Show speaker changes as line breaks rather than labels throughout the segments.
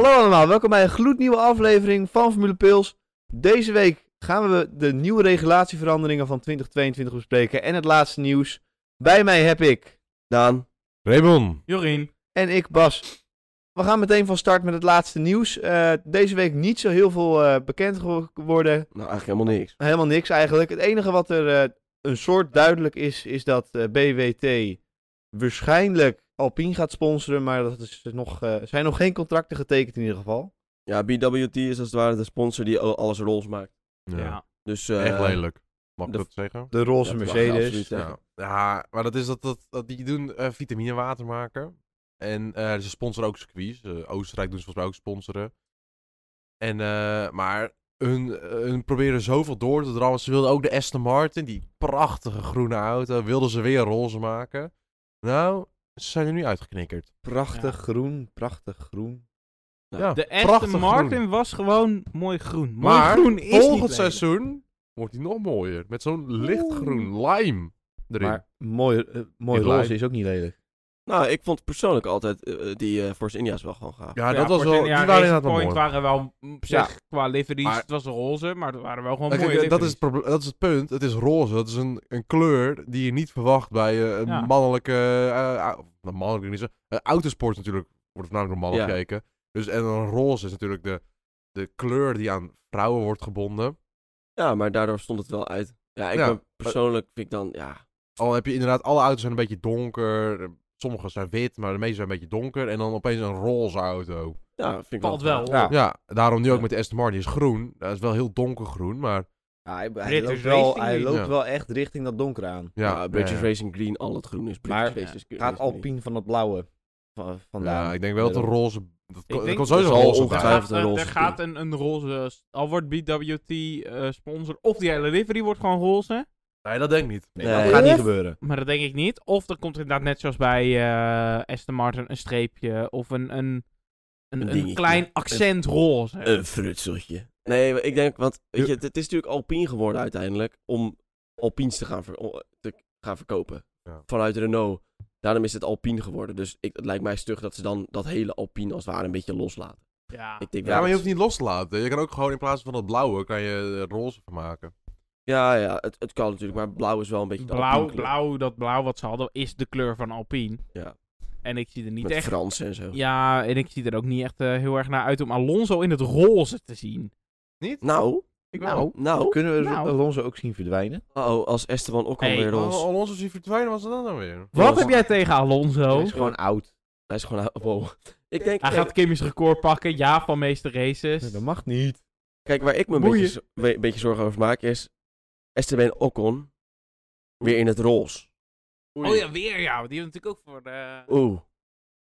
Hallo allemaal, welkom bij een gloednieuwe aflevering van Formule Pils. Deze week gaan we de nieuwe regulatieveranderingen van 2022 bespreken en het laatste nieuws. Bij mij heb ik Daan
Raymond.
Jorien.
en ik Bas. We gaan meteen van start met het laatste nieuws. Eh, deze week niet zo heel veel eh, bekend geworden.
Nou, eigenlijk helemaal niks.
Helemaal niks eigenlijk. Het enige wat er eh, een soort duidelijk is, is dat eh, BWT waarschijnlijk Alpine gaat sponsoren. Maar dat is nog, eh, er zijn nog geen contracten getekend in ieder geval.
Ja, BWT is als het ware de sponsor die al- alles rols maakt.
Ja.
Ja.
Dus, eh,
Echt lelijk. Mag ik
de-
dat zeggen?
De roze
Dat mag je
Mercedes.
absoluut zeggen.
Ja. ja, maar dat is dat, dat, dat die doen eh, vitaminewater maken. En eh, ze sponsoren ook circuits. Eh, Oostenrijk doen ze volgens mij ook sponsoren. En, eh, maar hun, hun proberen zoveel door te drammen. Ze wilden ook de Aston Martin, die prachtige groene auto, wilden ze weer roze maken. Nou, ze zijn er nu uitgeknikkerd.
Prachtig
Ja.
groen, prachtig groen.
Nou,
ja,
De
prachtig
echte
groen.
Martin was gewoon mooi groen. Mooi
Maar
groen is niet
Volgend
lelijk.
seizoen wordt die nog mooier. Met zo'n lichtgroen lime erin.
Maar mooi, eh, mooi
Ik
roze
like.
is ook niet lelijk.
nou, ik vond persoonlijk altijd eh, die eh, Force India's wel gewoon gaaf.
ja, dat was
voor
wel,
het
die waren
jaar Racing
inderdaad wel
Point
mooi.
waren wel mm, op zich qua liveries,
Maar-
het was roze, maar het waren wel gewoon
Ja, kijk,
mooie
eh, dat, is
liveries.
het proble- dat is het punt. Het is roze. Dat is een, een kleur die je niet verwacht bij eh, een
Ja.
mannelijke... eh, au- nou, mannelijke niet zo. eh, autosport natuurlijk wordt voornamelijk door mannen
Ja.
gekeken. Dus, en een roze is natuurlijk de, de kleur die aan vrouwen wordt gebonden.
Ja, maar daardoor stond het wel uit. Ja, ik
Ja,
ben persoonlijk vind ik dan, ja,
Al heb je inderdaad... Alle auto's zijn een beetje donker. eh, Sommige zijn wit, maar de meeste zijn een beetje donker. En dan opeens een roze auto.
ja vind ik
Valt wel.
Ja.
Ja.
Ja, daarom nu ook
Ja.
met de Aston Martin. Die is groen. Dat is wel heel donkergroen, maar...
Ja, hij, hij
Dit
loopt,
is
wel,
racing
hij
nu.
loopt
Ja.
wel echt richting dat donker aan.
Ja,
ja, British
ja, ja.
Racing Green, al het groen is
Maar-
British Racing Green.
Gaat Alpine van het blauwe van, vandaan.
Ja, ik denk wel dat een roze... Dat, ko- dat
denk-
komt sowieso
dat zal
roze bij.
Er
ongetwijfeld
gaat,
een
een,
roze
er gaat een, een roze, al wordt BWT eh, sponsor, of die hele livery wordt gewoon roze,
Nee, dat denk ik niet.
Nee,
Nee.
dat gaat niet
Of-
gebeuren.
maar dat denk ik niet. Of er komt inderdaad net zoals bij eh, Aston Martin een streepje, of een, een, een, een,
dingetje. Eh,
klein accent roze.
Een frutseltje. Nee, maar ik denk, want weet je, het, het is natuurlijk Alpine geworden uiteindelijk om Alpines te gaan, ver- o- te gaan verkopen.
Ja.
Vanuit Renault. Daarom is het Alpine geworden. Dus ik, het lijkt mij stug dat ze dan dat hele Alpine als het ware een beetje loslaten.
ja.
Ik denk
Ja,
wel
maar je
dat
hoeft niet los te laten. Je kan ook gewoon in plaats van dat blauwe, kan je eh, roze van maken.
Ja, ja, het, het kan natuurlijk, maar blauw is wel een beetje de
blauw,
alpinekleur.
blauw, dat blauw wat ze hadden, is de kleur van Alpine.
Ja.
En ik zie er niet
Met
echt...
Frans en zo.
Ja, en ik zie er ook niet echt eh, heel erg naar uit om Alonso in het roze te zien.
Nou,
Ik
Nou,
nou,
Kunnen we
Nou.
Alonso ook zien verdwijnen?
oh, als Esteban Ocon
Hey, oh,
weer roze.
Al onze zien verdwijnen, was dat dan nou weer?
wat
Roze.
heb jij tegen Alonso?
Hij is gewoon oud.
Hij is gewoon, wow. Ik denk,
Hij
kijk,
gaat Kimmy's record pakken, ja, van meeste races.
Dat mag niet.
kijk, waar ik me een
Boeien.
beetje, zo- we- een beetje zorgen over maak is Esteban Ocon weer in het roze.
Oh ja, weer ja, want die heeft natuurlijk ook voor de...
Oeh,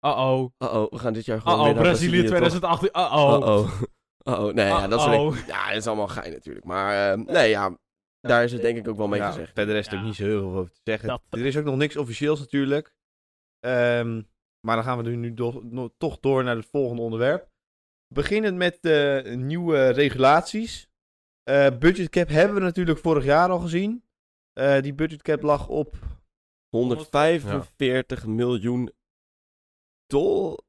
Uh-oh.
uh-oh, we gaan dit jaar gewoon
Uh-oh,
weer naar
Brazilië
toch?
2018. Uh-oh.
Uh-oh. Uh-oh, nee, ja, dat soort dingen.
Uh-oh.
Ja, dat is allemaal gein natuurlijk. Maar eh, nee, ja, daar is het denk ik ook wel mee
Ja,
gezegd.
Verder is er
Ja.
ook niet zo heel veel over te zeggen.
Dat-
Er is ook nog niks officieels natuurlijk. Ehm, maar dan gaan we nu do- no- toch door naar het volgende onderwerp. Beginnend met de nieuwe regulaties. Eh budget cap hebben we natuurlijk vorig jaar al gezien. Eh, die budget cap lag op
145 miljoen dollar.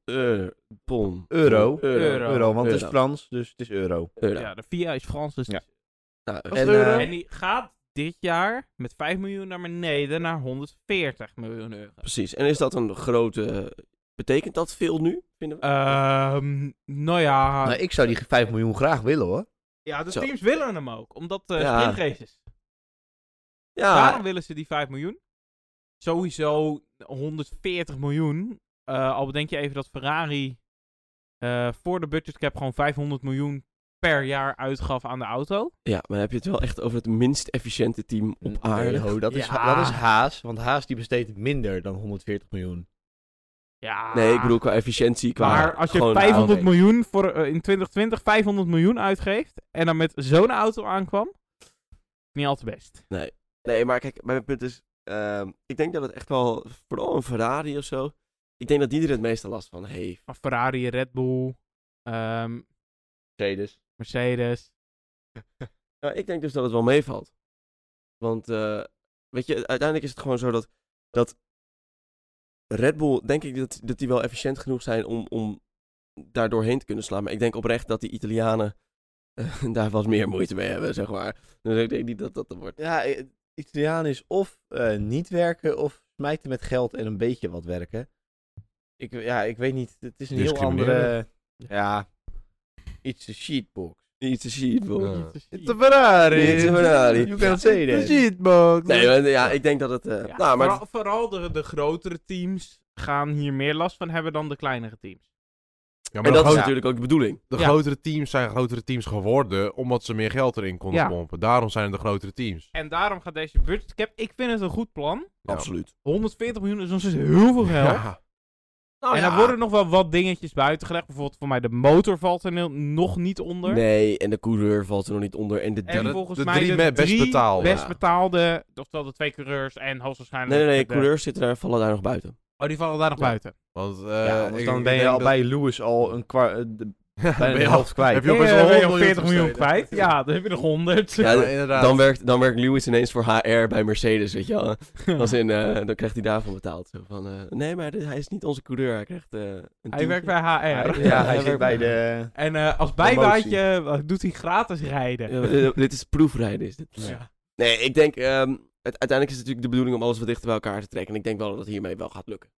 Pond.
Euro.
Euro.
euro, want het is
Euro.
Frans, dus het is euro.
Euro.
Ja, de VIA is Frans, dus...
Ja.
Nou,
Was
en,
het euro?
eh,
En die gaat dit jaar met 5 miljoen naar beneden naar 140 miljoen euro.
precies. En is dat een grote... eh, Betekent dat veel nu? Vinden
Eh,
we?
Ehm, nou ja.
Nou, ik zou die 5 miljoen graag willen hoor.
Ja, de
Zo.
teams willen hem ook. Omdat eh
Ja.
sprintraces.
ja,
Waarom willen ze die 5 miljoen? Sowieso 140 miljoen. Eh, al bedenk je even dat Ferrari eh, voor de budgetcap gewoon 500 miljoen per jaar uitgaf aan de auto.
ja, maar dan heb je het wel echt over het minst efficiënte team op aarde.
Nee, ho, Oh, dat, is,
Ja.
dat is Haas, want Haas die besteedt minder dan 140 miljoen.
Ja.
Nee, ik bedoel qua efficiëntie. Qua
Maar als je
gewoon
500
aanrekening.
miljoen voor, eh, in 2020 500 miljoen uitgeeft en dan met zo'n auto aankwam, niet al te best.
Nee, maar kijk, mijn punt is... ehm, ik denk dat het echt wel... Vooral een Ferrari of zo. Ik denk dat die er het meeste last van heeft.
Maar Ferrari, Red Bull, ehm,
Mercedes.
Mercedes.
Nou, ik denk dus dat het wel meevalt. Want, eh, weet je, uiteindelijk is het gewoon zo dat, dat Red Bull, denk ik dat, dat die wel efficiënt genoeg zijn om, om daar doorheen te kunnen slaan. Maar ik denk oprecht dat die Italianen eh, daar wat meer moeite mee hebben, zeg maar. Dus ik denk niet dat dat er wordt.
Ja, eh, Italiaan is of eh, niet werken of smijten met geld en een beetje wat werken. Ik, eh, ja, ik weet niet. Het is een heel andere.
Discrimineren.
Ja. It's a sheetbox.
Iets te zien, bro.
Ja.
It's a Ferrari.
It's a Ferrari.
You can say that.
Shitbox.
Nee, maar, ja, ik denk dat het... eh,
Ja,
nou, maar
vooral vooral de, de grotere teams gaan hier meer last van hebben dan de kleinere teams.
Ja,
en
maar de,
dat is
gro-
natuurlijk ook de bedoeling.
de
ja.
grotere teams zijn grotere teams geworden omdat ze meer geld erin konden
Ja.
pompen. Daarom zijn het de grotere teams.
En daarom gaat deze budgetcap... Ik vind het een goed plan.
Ja.
Absoluut.
140 miljoen is nog steeds heel veel geld.
Ja.
Nou,
en
ja.
daar worden nog wel wat dingetjes buiten gelegd. Bijvoorbeeld voor mij de motor valt er nog niet onder.
Nee, en de coureur valt er nog niet onder. En de
En
Ja,
drie...
de-
volgens
de
mij
drie
de
me- best
drie
betaalde.
best
Ja.
betaalde, oftewel de twee coureurs en hoogstwaarschijnlijk...
Nee, nee, nee,
de-
coureurs zitten daar, vallen daar nog buiten.
Oh, die vallen daar nog
Ja.
buiten.
Want, eh,
Ja, want
ik-
dan
ik
ben je
denk
al
dat-
bij Lewis al een kwa- eh, de-
ben
bijna
je
de
al-
helft kwijt.
Heb je al
Nee,
best
dan
wel
ben je
100
al 40 Eh, miljoen
besteden.
kwijt. Ja, dan heb je nog 100.
Ja,
Ja, inderdaad.
Dan werkt, dan werkt Lewis ineens voor HR bij Mercedes, weet je wel. Als in, eh, dan krijgt hij daarvan betaald. Zo van, eh, nee, maar dit- hij is niet onze coureur. Hij krijgt eh, een
Hij
tientje.
werkt bij HR.
Ja, hij
Ja,
zit bij de.
En eh, als bijbaantje eh, doet hij gratis rijden.
Ja, eh, dit is proefrijden, is dit.
Ja.
Nee, ik denk, ehm, het, uiteindelijk is het natuurlijk de bedoeling om alles wat dichter bij elkaar te trekken. En ik denk wel dat het hiermee wel gaat lukken.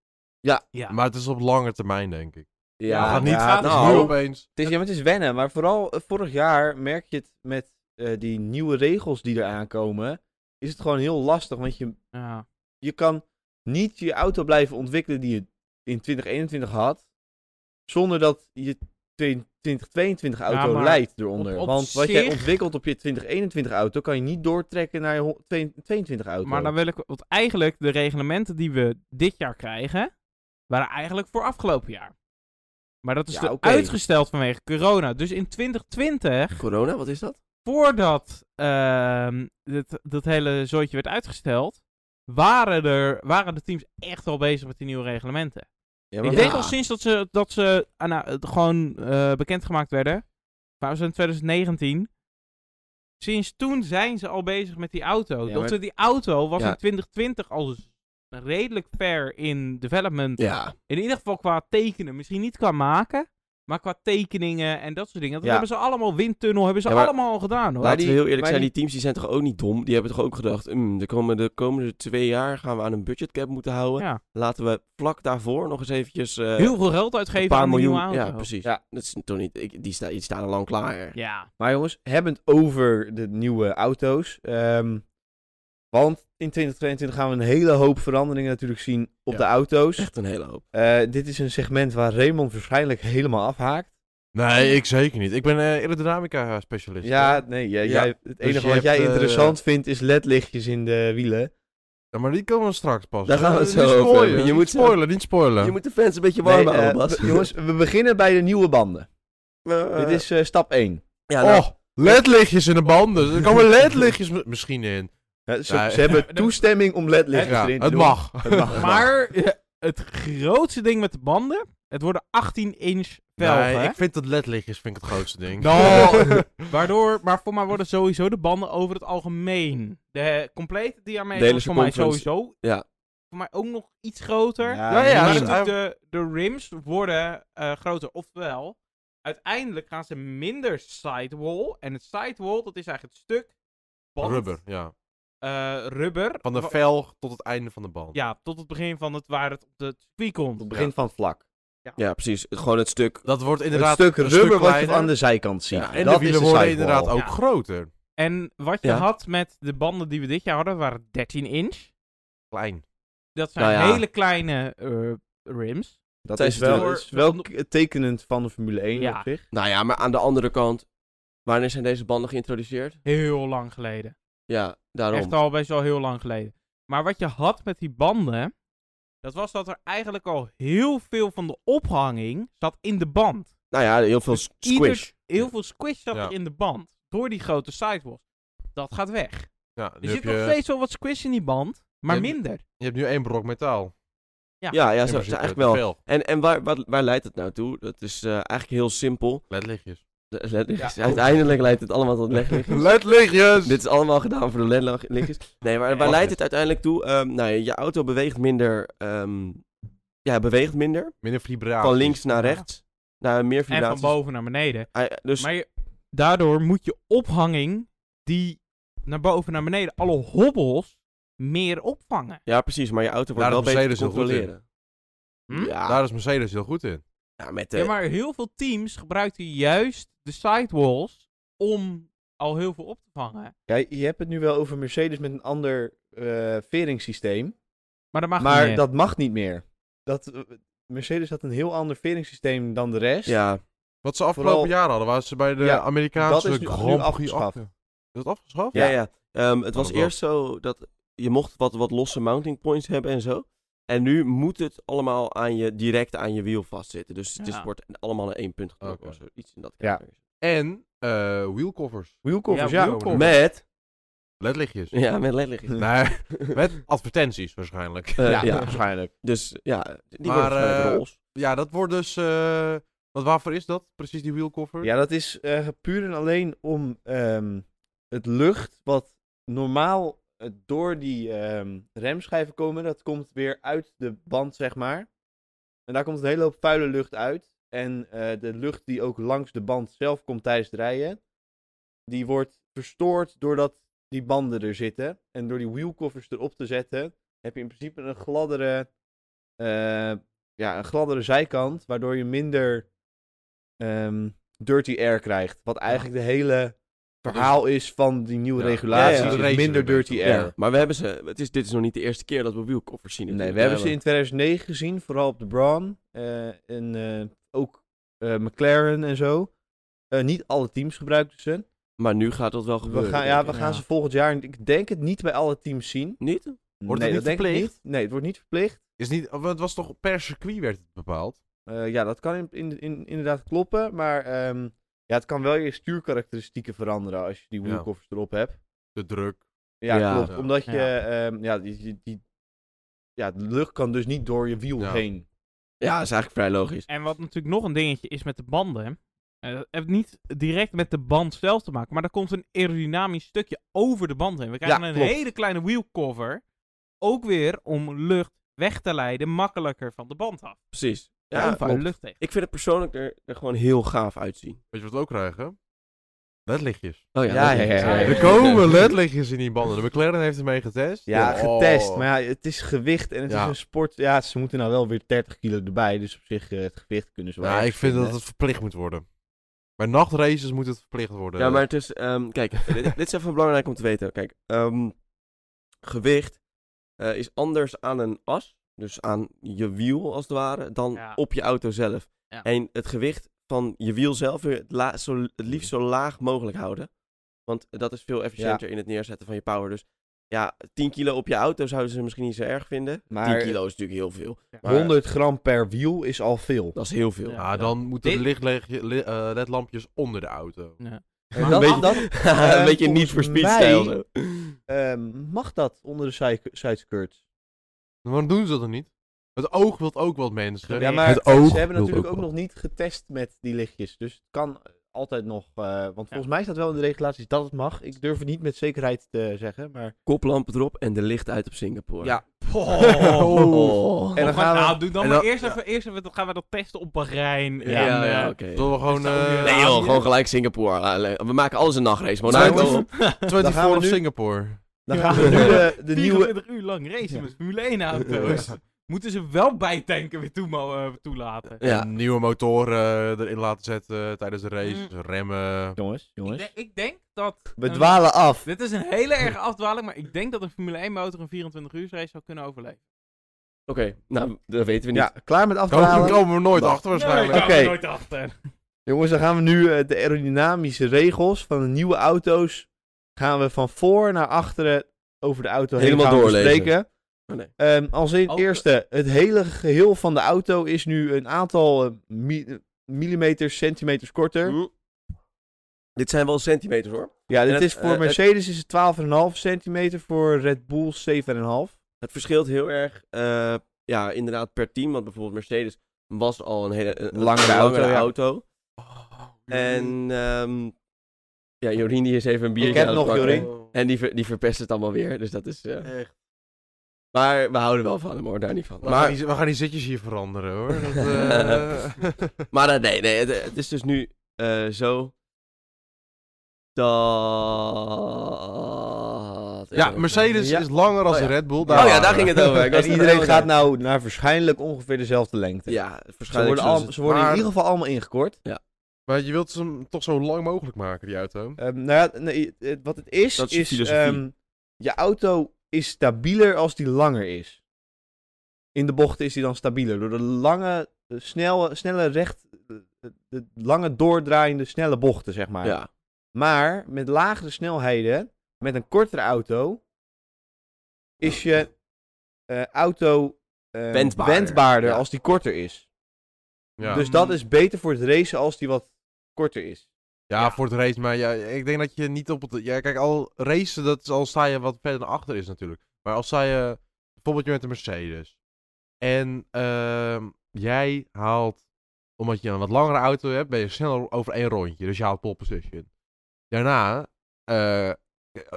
Ja.
Maar het is op lange termijn, denk ik.
Ja,
het gaat niet
ja,
het is
nou,
nu opeens.
Het is, ja, maar het is wennen. Maar vooral eh, vorig jaar merk je het met eh, die nieuwe regels die eraan komen. Is het gewoon heel lastig. Want je,
Ja.
je kan niet je auto blijven ontwikkelen die je in 2021 had. Zonder dat je twee- 2022 auto
maar
leidt eronder.
op- op
want wat jij
zich-
ontwikkelt op je 2021 auto kan je niet doortrekken naar je ho- 2022 auto.
Maar dan wil ik, want eigenlijk de reglementen die we dit jaar krijgen, waren eigenlijk voor afgelopen jaar. Maar dat is
Ja,
er
oké.
uitgesteld vanwege corona. Dus in 2020,
Corona, wat is dat?
voordat ehm, dit, dat hele zooitje werd uitgesteld, waren, er, waren de teams echt al bezig met die nieuwe reglementen.
Ja,
Ik
maar-
denk
Ja.
al sinds dat ze, dat ze ah, nou, het gewoon eh, bekendgemaakt werden. Maar we zijn in 2019. Sinds toen zijn ze al bezig met die auto.
Ja,
dat
maar-
ze die auto was
Ja.
in 2020 al z- redelijk ver in development.
Ja,
In ieder geval qua tekenen. Misschien niet qua maken. Maar qua tekeningen en dat soort dingen. Dat
Ja.
hebben ze allemaal windtunnel. Hebben ze
Ja, maar-
allemaal al gedaan hoor.
Maar
laten
die-
we heel eerlijk
maar
zijn, die teams die zijn toch ook niet dom? Die hebben toch ook gedacht, "Hmm, de, komende, de komende twee jaar gaan we aan een budgetcap moeten houden.
Ja.
Laten we vlak daarvoor nog eens eventjes eh,
Heel veel geld uitgeven
een paar
aan die
miljoen.
nieuwe auto.
Ja, precies.
Ja.
Dat is toch niet, ik, die, sta, die staan al lang klaar.
Ja.
Maar jongens, hebbend over de nieuwe auto's. ehm, want in 2022 gaan we een hele hoop veranderingen natuurlijk zien op
Ja.
de auto's.
Echt een hele hoop.
Eh, dit is een segment waar Raymond waarschijnlijk helemaal afhaakt.
Nee, ik zeker niet. Ik ben eh aerodynamica specialist.
Ja, nee, jij,
Ja.
jij- het enige
je
wat jij
hebt, eh,
interessant vindt is ledlichtjes in de wielen.
Ja, maar die komen straks pas.
Daar gaan we het
Eh,
zo
niet
over
spoilen,
hebben. Je
niet
moet-
spoilen, niet spoilen.
Je moet de fans een beetje warm
Nee,
houden,
eh,
Bas.
we- jongens, we beginnen bij de nieuwe banden.
Eh,
dit is eh, stap 1.
ja, nou,
Oh, ledlichtjes in de banden. Er komen ledlichtjes mi- misschien in.
ze,
nou,
ze hebben
ja,
toestemming om ledlichtjes
Ja,
erin te
het
doen.
mag.
Het mag.
Maar eh, het grootste ding met de banden. Het worden 18 inch velgen.
Nee, ik vind dat ledlichtjes vind ik het grootste ding.
Nou, waardoor, maar voor mij worden sowieso de banden over het algemeen. De complete
De
diameter
hele
is voor mij
circumference.
sowieso.
Ja.
Voor mij ook nog iets groter.
Ja,
Ja, ja,
maar
dat-
natuurlijk de, de rims worden eh, groter. Oftewel, uiteindelijk gaan ze minder sidewall. En het sidewall, dat is eigenlijk het stuk band,
Rubber, ja.
eh, rubber.
Van de
wa-
velg tot het einde van de band.
Ja, tot het begin van het waar het op de circuit
Op
komt.
het begin van het vlak.
ja, precies. Gewoon het stuk.
Dat wordt inderdaad
het stuk
een
rubber wat je
kleiner.
aan de zijkant ziet.
Ja,
En
Dat
de
is
wielen worden
sidewall.
inderdaad ook
Ja.
groter.
En wat je
Ja.
had met de banden die we dit jaar hadden, waren 13 inch.
Klein.
Dat zijn
Nou ja.
hele kleine eh, rims.
Dat
Zij
is
is
wel,
door-
is wel k- tekenend van de Formule 1
Ja.
op zich.
Nou ja, maar aan de andere kant. Wanneer zijn deze banden geïntroduceerd?
Heel lang geleden.
Ja, daarom.
Echt al best wel heel lang geleden. Maar wat je had met die banden, dat was dat er eigenlijk al heel veel van de ophanging zat in de band.
Nou ja, heel veel s- squish.
Dus Ieder- heel veel squish zat
Ja.
er in de band. Door die grote sidewalls. Dat gaat weg.
Ja, nu
Er
heb
zit
je,
nog steeds wel wat squish in die band, maar
Ja,
minder.
je hebt nu één brok metaal.
Ja, ja,
In
zo, zo
principe,
eigenlijk
de
wel.
velg.
En, en waar, waar, waar leidt het nou toe? Dat is eh, eigenlijk heel simpel.
Ledlichtjes.
De- ledlichtjes.
Ja.
Uiteindelijk leidt het allemaal tot ledlichtjes.
Dus-
Ledlichtjes!
Dit is allemaal gedaan voor de ledlichtjes. Nee, maar waar
Wacht
leidt
even.
het uiteindelijk toe? Ehm, nou ja, je auto beweegt minder. ehm, ja, beweegt minder.
Minder vibratie.
van links naar rechts. Nou, meer
en van
vibraties.
boven naar beneden.
Hij- dus
Maar je- daardoor moet je ophanging die naar boven naar beneden, alle hobbels, meer opvangen.
Ja, precies. Maar je auto wordt
Daarom
wel beter te
Mercedes heel goed in.
controleren.
Hm?
Ah.
Ja,
Daar is Mercedes heel goed in.
ja, met de...
Ja, maar heel veel teams gebruikten juist de sidewalls om al heel veel op te vangen.
Ja, je hebt het nu wel over Mercedes met een ander eh veringssysteem.
Maar dat mag niet
maar
meer.
dat mag niet meer. Dat, eh, Mercedes had een heel ander veringssysteem dan de rest.
ja.
Wat ze afgelopen
Vooral-
jaar hadden, waren ze bij de
Ja,
Amerikaanse
dat is nu- nu
Grand Prix
afgeschaft.
af- Is dat afgeschaft?
Ja, ja. Ehm, het
Kan
was
ook wel.
eerst zo dat je mocht wat, wat losse mounting points hebben en zo. En nu moet het allemaal aan je, direct aan je wiel vastzitten. Dus het is,
Ja.
wordt allemaal naar één punt getrokken.
Oké.
of zo. Iets in dat
Ja.
kader.
En eh wheelcovers.
Wheelcovers,
Ja,
ja.
wheelcovers.
Met,
Ledlichtjes.
ja, met ledlichtjes.
Nee, met advertenties waarschijnlijk.
Eh,
Ja,
ja.
waarschijnlijk.
Dus ja, die
Maar,
worden waarschijnlijk
eh,
roze.
Ja, dat wordt dus... eh, wat waarvoor is dat? Precies die wheelcover?
Ja, dat is eh, puur en alleen om ehm, het lucht wat normaal eh, door die ehm, remschijven komen, dat komt weer uit de band, zeg maar. En daar komt een hele hoop vuile lucht uit. En eh, de lucht die ook langs de band zelf komt tijdens het rijden, die wordt verstoord doordat die banden er zitten. En door die wheelcovers erop te zetten, heb je in principe een gladdere, eh, ja, een gladdere zijkant, waardoor je minder ehm, dirty air krijgt. Wat eigenlijk de hele verhaal is van die nieuwe
Ja.
regulaties.
Ja, ja.
is
De race
minder
een beetje.
dirty air.
Ja, maar we hebben ze, het is, dit is nog niet de eerste keer dat we wielkoffers zien.
Nee,
natuurlijk.
we hebben ze
Ja,
in 2009 gezien, vooral op de Braun. eh, en eh, ook eh, McLaren en zo. Eh, niet alle teams gebruikten ze.
Maar nu gaat dat wel gebeuren.
We gaan, ja,
denk
we
ik.
gaan
Ja.
ze volgend jaar, ik denk het niet bij alle teams zien.
Niet?
Wordt
nee,
het
dat
niet
denk ik
verplicht?
niet. Nee, het wordt niet verplicht.
Is niet, want het was toch per circuit werd het bepaald?
Eh, ja, dat kan in, in, in- inderdaad kloppen, maar ehm, ja, het kan wel je stuurkarakteristieken veranderen als je die
Ja.
wielkoffers erop hebt.
De druk.
Ja,
Ja.
klopt.
Ja.
Omdat je,
Ja.
ehm, ja, die, die, die- ja, de lucht kan dus niet door je wiel
Ja.
heen.
Ja, is eigenlijk vrij logisch.
En wat natuurlijk nog een dingetje is met de banden. eh, dat heeft niet direct met de band zelf te maken, maar er komt een aerodynamisch stukje over de band heen. We krijgen
Ja,
een
klopt.
hele kleine wheelcover. Ook weer om lucht weg te leiden, makkelijker van de band af.
Precies.
Ja,
Ja,
om van
klopt.
lucht tegen.
ik vind het persoonlijk er, er gewoon heel gaaf uitzien.
Weet je wat we ook krijgen? Ledlichtjes.
Oh
Ja,
dat
ja,
is-
ja, ja, ja.
Er komen ledlichtjes in die banden. De McLaren heeft ermee getest.
Ja,
Oh.
getest. Maar ja, het is gewicht en het
Ja.
is een sport. Ja, ze moeten nou wel weer 30 kilo erbij. Dus op zich, eh, het gewicht kunnen ze wel.
Nou, ik
ergens
vind dat
vinden.
het verplicht moet worden. Bij nachtraces moet het verplicht worden.
Ja, maar het is, ehm, kijk, dit, dit is even belangrijk om te weten. Kijk, ehm, gewicht eh, is anders aan een as, dus aan je wiel als het ware, dan
Ja.
op je auto zelf.
Ja.
En het gewicht van je wiel zelf wil je het, la- zo, het liefst zo laag mogelijk houden. Want dat is veel efficiënter in het neerzetten van je power. Dus ja, 10 kilo op je auto zouden ze misschien niet zo erg vinden.
Maar
10 kilo is natuurlijk heel veel.
Ja.
Maar
100 gram per wiel is al veel.
Dat is heel veel.
Ja.
Ja, dan moeten de lichtlegje- li- eh, ledlampjes onder de auto.
En
Een
dat,
beetje-
dat,
een beetje
volgens
niet voor speed
mij-
stijl. zo.
ehm, mag dat onder de side- sideskirts?
Maar Waarom doen ze dat dan niet? Het oog wil ook wat mensen.
Ja, maar
het oog
ze hebben
wil
natuurlijk ook
wel.
nog niet getest met die lichtjes. Dus het kan altijd nog. eh, want volgens
Ja.
mij staat wel in de regulaties dat het mag. Ik durf het niet met zekerheid te zeggen. Maar...
Koplampen erop en de licht uit op Singapore.
Oh.
Oh.
En dan
Of maar-
gaan we-
nou, doe dan
en
maar
dan-
eerst even, eerst even, dan gaan we dat testen op Bahrein.
Ja,
en,
ja,
eh,
oké.
Zullen we gewoon...
dat is ook
eh,
weer-
Nee
Ja,
joh,
hier-
gewoon gelijk Singapore. Allee, We maken alles een nachtrace.
Zijn we-
Monaco.
24
gaan we
of
nu-
Singapore.
Dan
Ja.
gaan we nu de, de nieuwe.
24 uur lang racen met Formule 1 auto's.
eh,
Moeten ze wel bijtanken weer toe, eh, toelaten.
Ja.
Nieuwe motoren eh, erin laten zetten tijdens de race.
Mm.
Remmen.
Jongens,
Ik,
jongens.
denk- ik denk dat...
We
een-
dwalen af.
dit is een hele erge afdwaling, maar ik denk dat een Formule 1 motor een 24 uur race zou kunnen overleven.
Oké, nou, dat weten we niet.
Ja, klaar met
Daar
afdwalen.
komen we nooit
Nou.
achter waarschijnlijk.
Nee,
daar komen we
Oké.
nooit achter.
Jongens, dan gaan we nu eh, de aerodynamische regels van de nieuwe auto's. Gaan we van voor naar achteren over de auto heen
Helemaal
gaan
doorlezen.
bespreken.
Oh, nee.
Ehm, als in het
Oh,
eerste, het hele geheel van de auto is nu een aantal eh, mi- eh, millimeters, centimeters korter.
Hm. Dit zijn wel centimeters hoor.
Ja, dit
het-
is voor
eh, het-
Mercedes is het 12,5 centimeter, voor Red Bull 7,5.
Het verschilt heel erg, eh, ja, inderdaad per team. Want bijvoorbeeld Mercedes was al een hele een- een
Langere auto, ja. Mhm.
auto. Oh, En ehm, ja, Jorien die is even een biertje
heb
aan het
nog,
pakken.
Jorien.
En die, ver- die verpest het allemaal weer. Dus dat is... eh,
Echt.
Maar we houden wel van hem hoor, daar niet van.
We,
Maar,
gaan die, we gaan die zitjes hier veranderen hoor. Dat, eh,
maar eh, nee, nee, het, het is dus nu eh, zo. Dat.
ja, Mercedes
Ja.
is langer als
Oh ja.
de Red Bull.
Oh ja,
waren
daar
we.
ging het over. Ik was
En
er
iedereen
helemaal
gaat
door.
nou naar waarschijnlijk ongeveer dezelfde lengte.
Ja,
ze
waarschijnlijk.
worden, al-
zullen ze-
ze worden in
maar-
ieder geval allemaal ingekort.
Maar je wilt ze hem toch zo lang mogelijk maken, die auto.
Ehm, nou ja, nee, het- wat het is,
Dat is
is,
filosofie.
ehm, je auto is stabieler als die langer is. In de bochten is die dan stabieler. Door de lange, eh, snelle, snelle recht, eh, de, de lange doordraaiende, snelle bochten, zeg maar.
Ja.
Maar met lagere snelheden, met een kortere auto, is je eh, auto eh,
Wendbaarder.
wendbaarder
Ja.
als die korter is.
Ja,
Dus dat is beter voor het racen als die wat korter is.
ja, voor het race. Maar ja, ik denk dat je niet op het... Ja, kijk, al racen, dat is al sta je wat verder naar achter is natuurlijk. Maar als sta je... Bijvoorbeeld je met een Mercedes. En ehm, jij haalt... Omdat je een wat langere auto hebt, ben je sneller over één rondje. Dus je haalt pole position. Daarna eh,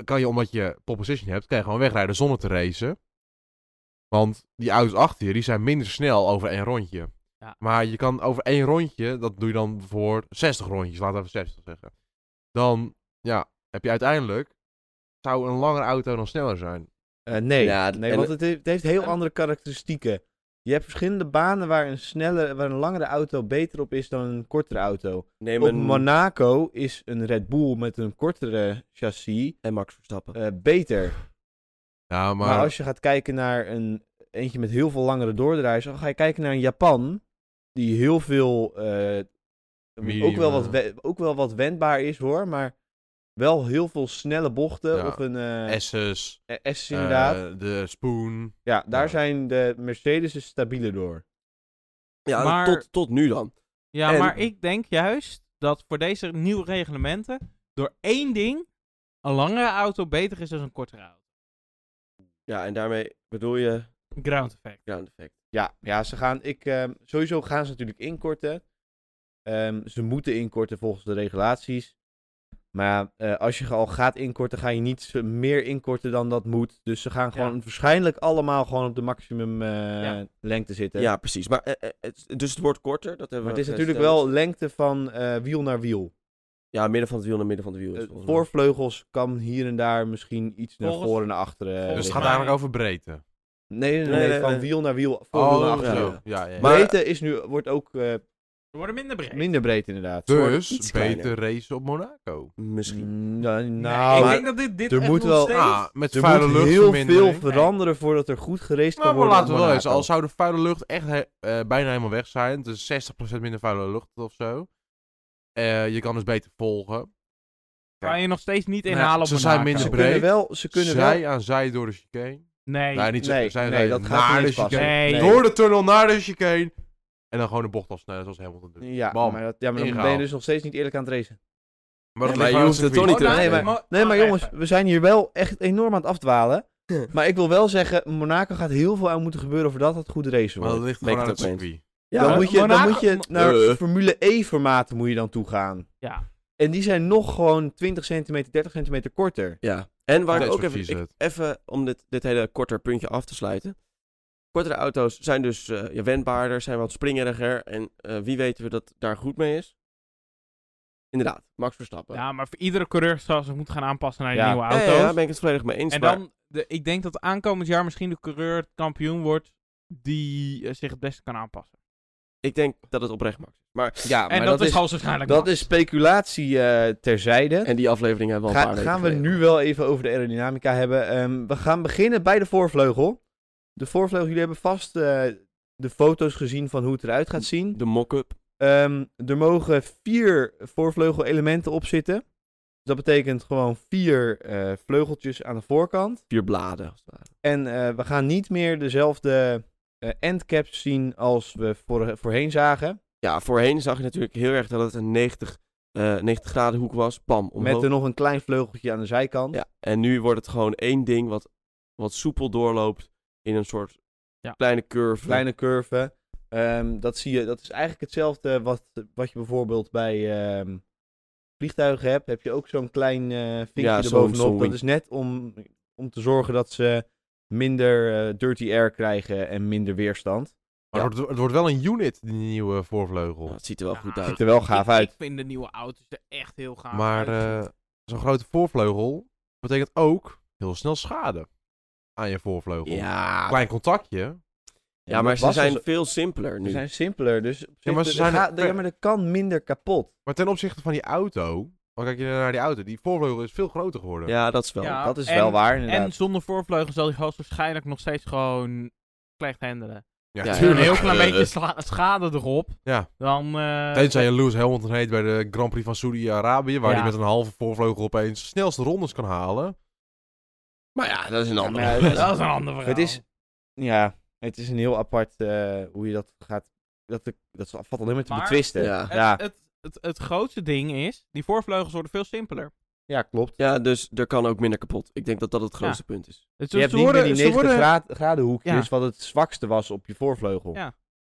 kan je, omdat je pole position hebt, kan je gewoon wegrijden zonder te racen. Want die auto's achter je, die zijn minder snel over één rondje.
Ja.
Maar je kan over één rondje, dat doe je dan voor 60 rondjes, laten we even 60 zeggen. Dan, ja, heb je uiteindelijk, zou een langere auto dan sneller zijn.
Eh, nee,
Ja,
nee
en-
want het heeft, het heeft heel andere karakteristieken. Je hebt verschillende banen waar een, snelle, waar een langere auto beter op is dan een kortere auto.
Neem
Op
een
Monaco is een Red Bull met een kortere chassis
en Max Verstappen.
eh, beter.
Ja, maar,
Maar... als je gaat kijken naar een eentje met heel veel langere doordraaiers, dan ga je kijken naar een Japan die heel veel eh, ook,
Medium,
wel wat
eh.
we- ook wel wat wendbaar is hoor, maar wel heel veel snelle bochten
Ja,
of een eh S,
S's, eh,
inderdaad.
de Spoon.
ja, daar
ja.
zijn de Mercedes stabieler door.
ja,
maar-
tot, tot nu dan.
Ja,
En-
maar ik denk juist dat voor deze nieuwe reglementen door één ding een langere auto beter is dan een kortere auto.
Ja, en daarmee bedoel je
Ground effect.
ground effect.
Ja, ja ze gaan, ik, ehm, sowieso gaan ze natuurlijk inkorten. Ehm, ze moeten inkorten volgens de regulaties. Maar ja, eh, als je al gaat inkorten, ga je niet z- meer inkorten dan dat moet. Dus ze gaan gewoon waarschijnlijk allemaal gewoon op de maximum eh,
Ja.
lengte zitten.
Ja, precies. Maar, eh, eh, het, dus het wordt korter. Dat hebben
Maar het
we
is natuurlijk
gesteld.
wel lengte van eh, wiel naar wiel.
Ja, midden van het wiel naar midden van het wiel. is
Eh,
volgens mij.
voorvleugels kan hier en daar misschien iets naar
Volgens-
voren en naar achteren. eh,
volgens
dus het
liggen.
gaat
mij-
eigenlijk over breedte.
nee, nee, nee,
Nee,
nee, Oh,
nee,
van
nee.
wiel naar wiel, voor wiel naar achteren.
zo. Ja, ja, ja.
Maar-
Breedte is nu, wordt ook eh,
Ze worden minder Eh, breed.
minder breed inderdaad.
dus
iets
beter
kleiner.
racen op Monaco.
Misschien.
Mm, nou,
Nee,
nou,
ik denk dat dit, dit
er
echt
moet
nog
wel-
steeds-
Ah, met
er
vuile
moet
lucht
heel veel
vermindering.
veranderen voordat er goed gereest kan
Nou, maar
worden.
laten we
op
wel eens.
Monaco.
Al zou de vuile lucht echt he- eh, bijna helemaal weg zijn. Dus 60% minder vuile lucht of zo. Eh, je kan dus beter volgen.
Kan je nog steeds niet
Nee,
inhalen op
ze zijn
Monaco.
ze
minder
kunnen
breed.
wel, ze kunnen
zij
wel.
aan zij door de chicane.
Nee.
Nee, niet zo,
Nee,
zij aan
nee,
zij
dat
naar
gaat er
de
niet passen.
chicane.
Nee.
Nee.
Door de tunnel naar de chicane. En dan gewoon de bocht afsnijden zoals Hamilton doet.
Ja,
Bam.
maar, dat, ja, maar dan ben je
Ingehaald.
dus nog steeds niet eerlijk aan het racen.
Maar,
Nee,
dat ligt
maar je
aan
hoeft het toch niet
te- nee,
maar-
maar,
Nee, maar
oh,
jongens,
even.
we zijn hier wel echt enorm aan het afdwalen. Maar ik wil wel zeggen, Monaco gaat heel veel aan moeten gebeuren voordat het goede race
Maar dat
wordt.
ligt
Ben ik
gewoon aan het
het ook mee
circuit.
Ja,
dan,
maar-
moet je, dan
Monaco-
moet je naar
Eh.
Formule E-formaten moet je dan toe gaan.
Ja.
En die zijn nog gewoon 20 centimeter, 30 centimeter korter.
ja. En waar ik
Dat is
ook even,
precies
ik-
het.
even om dit, dit hele korter puntje af te sluiten. Kortere auto's zijn dus eh, ja, wendbaarder, zijn wat springeriger. En eh, wie weten we dat daar goed mee is? Inderdaad, Max Verstappen.
ja, maar voor iedere coureur zal ze moeten gaan aanpassen naar de
Ja.
nieuwe
Ja,
auto's.
ja, daar ben ik het volledig mee eens.
En
maar-
dan, de, ik denk dat aankomend jaar misschien de coureur kampioen wordt die eh, zich het beste kan aanpassen.
Ik denk dat het oprecht Max is. Maar,
Ja,
en dat, is hoogstwaarschijnlijk
dat
Max.
is speculatie eh, terzijde.
en die aflevering hebben we al
Ga-
een paar
gaan we
weken
nu wel even over de aerodynamica hebben. Ehm, we gaan beginnen bij de voorvleugel. De voorvleugel, jullie hebben vast eh, de foto's gezien van hoe het eruit gaat zien.
geleden. De mock-up.
Ehm, er mogen vier voorvleugelelementen op zitten. Dus Dat betekent gewoon vier eh, vleugeltjes aan de voorkant.
Vier bladen. als het ware.
En eh, we gaan niet meer dezelfde eh, endcaps zien als we voor, voorheen zagen.
Ja, voorheen zag je natuurlijk heel erg dat het een 90, eh 90 graden hoek was. Bam, omhoog.
Met er nog een klein vleugeltje aan de zijkant.
Ja, en nu wordt het gewoon één ding wat, wat soepel doorloopt in een soort
Ja.
kleine curve.
Kleine curve. Ehm, dat, zie je, dat is eigenlijk hetzelfde wat, wat je bijvoorbeeld bij ehm, vliegtuigen hebt. Heb je ook zo'n klein eh vinkje
Ja, zo'n-
erbovenop.
zo'n
dat
wing.
is net om, om te zorgen dat ze minder eh, dirty air krijgen en minder weerstand.
Maar het, wordt, het wordt wel een unit, die nieuwe voorvleugel.
Nou, het ziet er wel
Ja,
goed
het
Ziet
uit.
er wel gaaf
ik,
uit.
Ik vind de nieuwe auto's er echt heel gaaf
maar
uit.
eh, zo'n grote voorvleugel betekent ook heel snel schade aan je voorvleugel.
Ja,
Klein contactje.
ja, maar
Dat
ze
was
zijn
dus-
veel simpeler
Ze
nu.
zijn simpeler, dus op
Ja, maar
zich-
ze zijn-
er gaat- ja, maar er kan minder kapot.
Maar ten opzichte van die auto, dan kijk je naar die auto, die voorvleugel is veel groter geworden.
Ja, dat is wel.
Ja,
dat is
en-
wel waar,
En
inderdaad.
zonder voorvleugel zal die gast waarschijnlijk nog steeds gewoon slecht handelen.
Ja,
Ja,
Een
tuurlijk.
heel klein beetje sla- schade erop.
Ja.
Dan, eh,
Tenzij je Lewis Hamilton heet bij de Grand Prix van Saudi-Arabië, waar
Ja.
hij met een halve voorvleugel opeens de snelste rondes kan halen.
Maar ja, dat is een
Ja,
ander.
maar
dat is een ander verhaal.
Het is, ja, het is een heel apart eh, hoe je dat gaat. Dat, de- dat valt alleen maar te
Maar-
betwisten.
Ja.
Ja.
Het, het, het, het grootste ding is, die voorvleugels worden veel simpeler.
Ja, klopt.
Ja, dus er kan ook minder kapot. Ik denk dat dat het grootste punt is.
Het,
je hebt niet meer die 90 graad, graden hoekjes,
Ja.
wat het zwakste was op je voorvleugel.
Ja.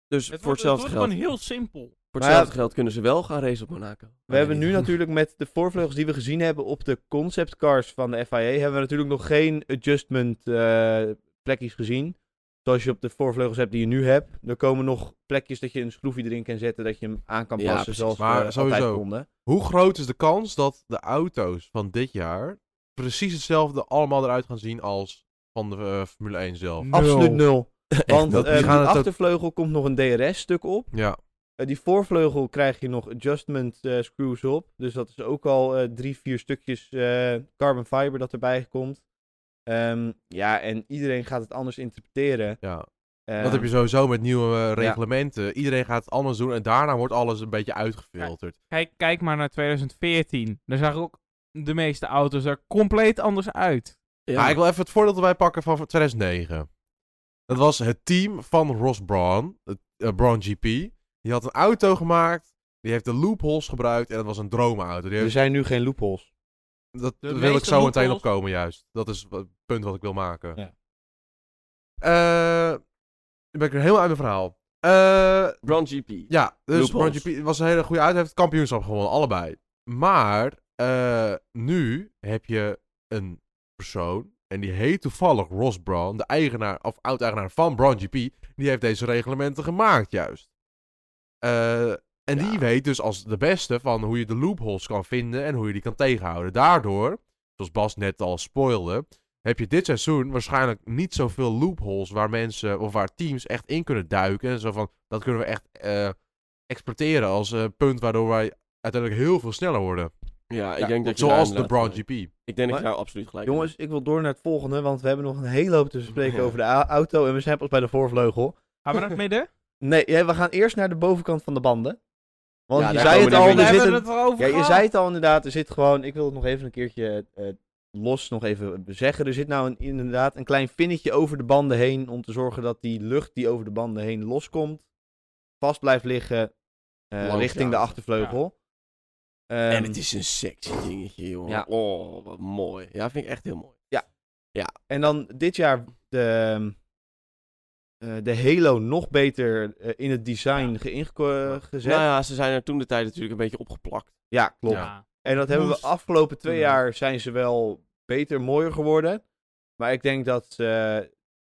Dus voor
het wordt, het wordt
hetzelfde geld.
gewoon heel simpel.
Voor
Maar
hetzelfde
ja,
geld kunnen ze wel gaan racen op Monaco.
We hebben nu natuurlijk met de voorvleugels die we gezien hebben op de conceptcars van de FIA, hebben we natuurlijk nog geen adjustment eh, plekjes gezien. Zoals je op de voorvleugels hebt die je nu hebt. Er komen nog plekjes dat je een schroefje erin kan zetten, dat je hem aan kan
Ja,
passen
precies.
zoals
Maar
we altijd
sowieso.
konden.
Hoe groot is de kans dat de auto's van dit jaar precies hetzelfde allemaal eruit gaan zien als van de eh, Formule 1 zelf?
Absoluut nul. Want
dat-
eh,
die
op
gaan
de
het ook-
achtervleugel komt nog een DRS-stuk op.
Ja,
Eh, die voorvleugel krijg je nog adjustment eh, screws op. Dus dat is ook al eh, drie, vier stukjes eh, carbon fiber dat erbij komt. Ehm, ja, en iedereen gaat het anders interpreteren.
ja.
Ehm,
Dat heb je sowieso met nieuwe eh, reglementen. Iedereen gaat het anders doen en daarna wordt alles een beetje uitgefilterd.
Kijk, kijk maar naar 2014. Daar zagen ook de meeste auto's er compleet anders uit.
Ja,
Ja. ik wil even het voordeel erbij pakken van 2009. Dat was het team van Ross Brawn, het, eh, Brawn GP. Die had een auto gemaakt, die heeft de loopholes gebruikt en dat was een droomauto. Die
Er
heeft-
zijn nu geen loopholes.
dat
Dus De
wil ik
meeste
zo meteen
loopholes-
opkomen juist. Dat is wa- het punt wat ik wil maken.
Ja.
Eh, nu ben ik er helemaal uit mijn verhaal. Eh,
Grand GP. Ja,
Ja, dus
Loopholes.
Ron GP was een hele goede uit. Hij heeft het kampioenschap gewonnen, allebei. Maar eh, nu heb je een persoon. En die heet toevallig Ross Brown, de eigenaar of oud-eigenaar van Brown GP. Die heeft deze reglementen gemaakt, juist. Eh, en
Ja.
die weet dus als de beste van hoe je de loopholes kan vinden en hoe je die kan tegenhouden. Daardoor, zoals Bas net al spoilde, heb je dit seizoen waarschijnlijk niet zoveel loopholes waar mensen of waar teams echt in kunnen duiken. En zo van, dat kunnen we echt eh, exploiteren als eh, punt waardoor wij uiteindelijk heel veel sneller worden.
ik denk dat je daar
Zoals de
inderdaad
Brown
gelijk-
GP.
Ik denk dat je
Maar-
daar absoluut gelijk in
Jongens, ik wil door naar het volgende, want we hebben nog een hele hoop te bespreken
Ja.
over de a- auto. En we zijn pas bij de voorvleugel.
Gaan we naar het midden?
Nee, ja, we gaan eerst naar de bovenkant van de banden. Want
Ja,
je
daar
zei het
komen de
al,
wielen.
er
Daar
zit
hebben
een
we het erover
Ja, je
gehad.
zei het al inderdaad, er zit gewoon, ik wil het nog even een keertje eh, los nog even zeggen. Er zit nou een, inderdaad een klein vinnetje over de banden heen om te zorgen dat die lucht die over de banden heen loskomt, vast blijft liggen eh,
Langs de
richting de
auto.
achtervleugel.
bent.
Ehm,
En het is een sexy dingetje, jongen.
Ja.
Oh, wat mooi. Ja, vind ik echt heel mooi.
en dan dit jaar de, eh, de Halo nog beter eh, in het design geïnge- eh, gezet.
Nou ja, ze zijn er toen de tijd natuurlijk een beetje opgeplakt.
ja, klopt.
Ja.
En dat hebben we
Moest.
afgelopen twee
Ja.
jaar zijn ze wel beter, mooier geworden. Maar ik denk dat eh,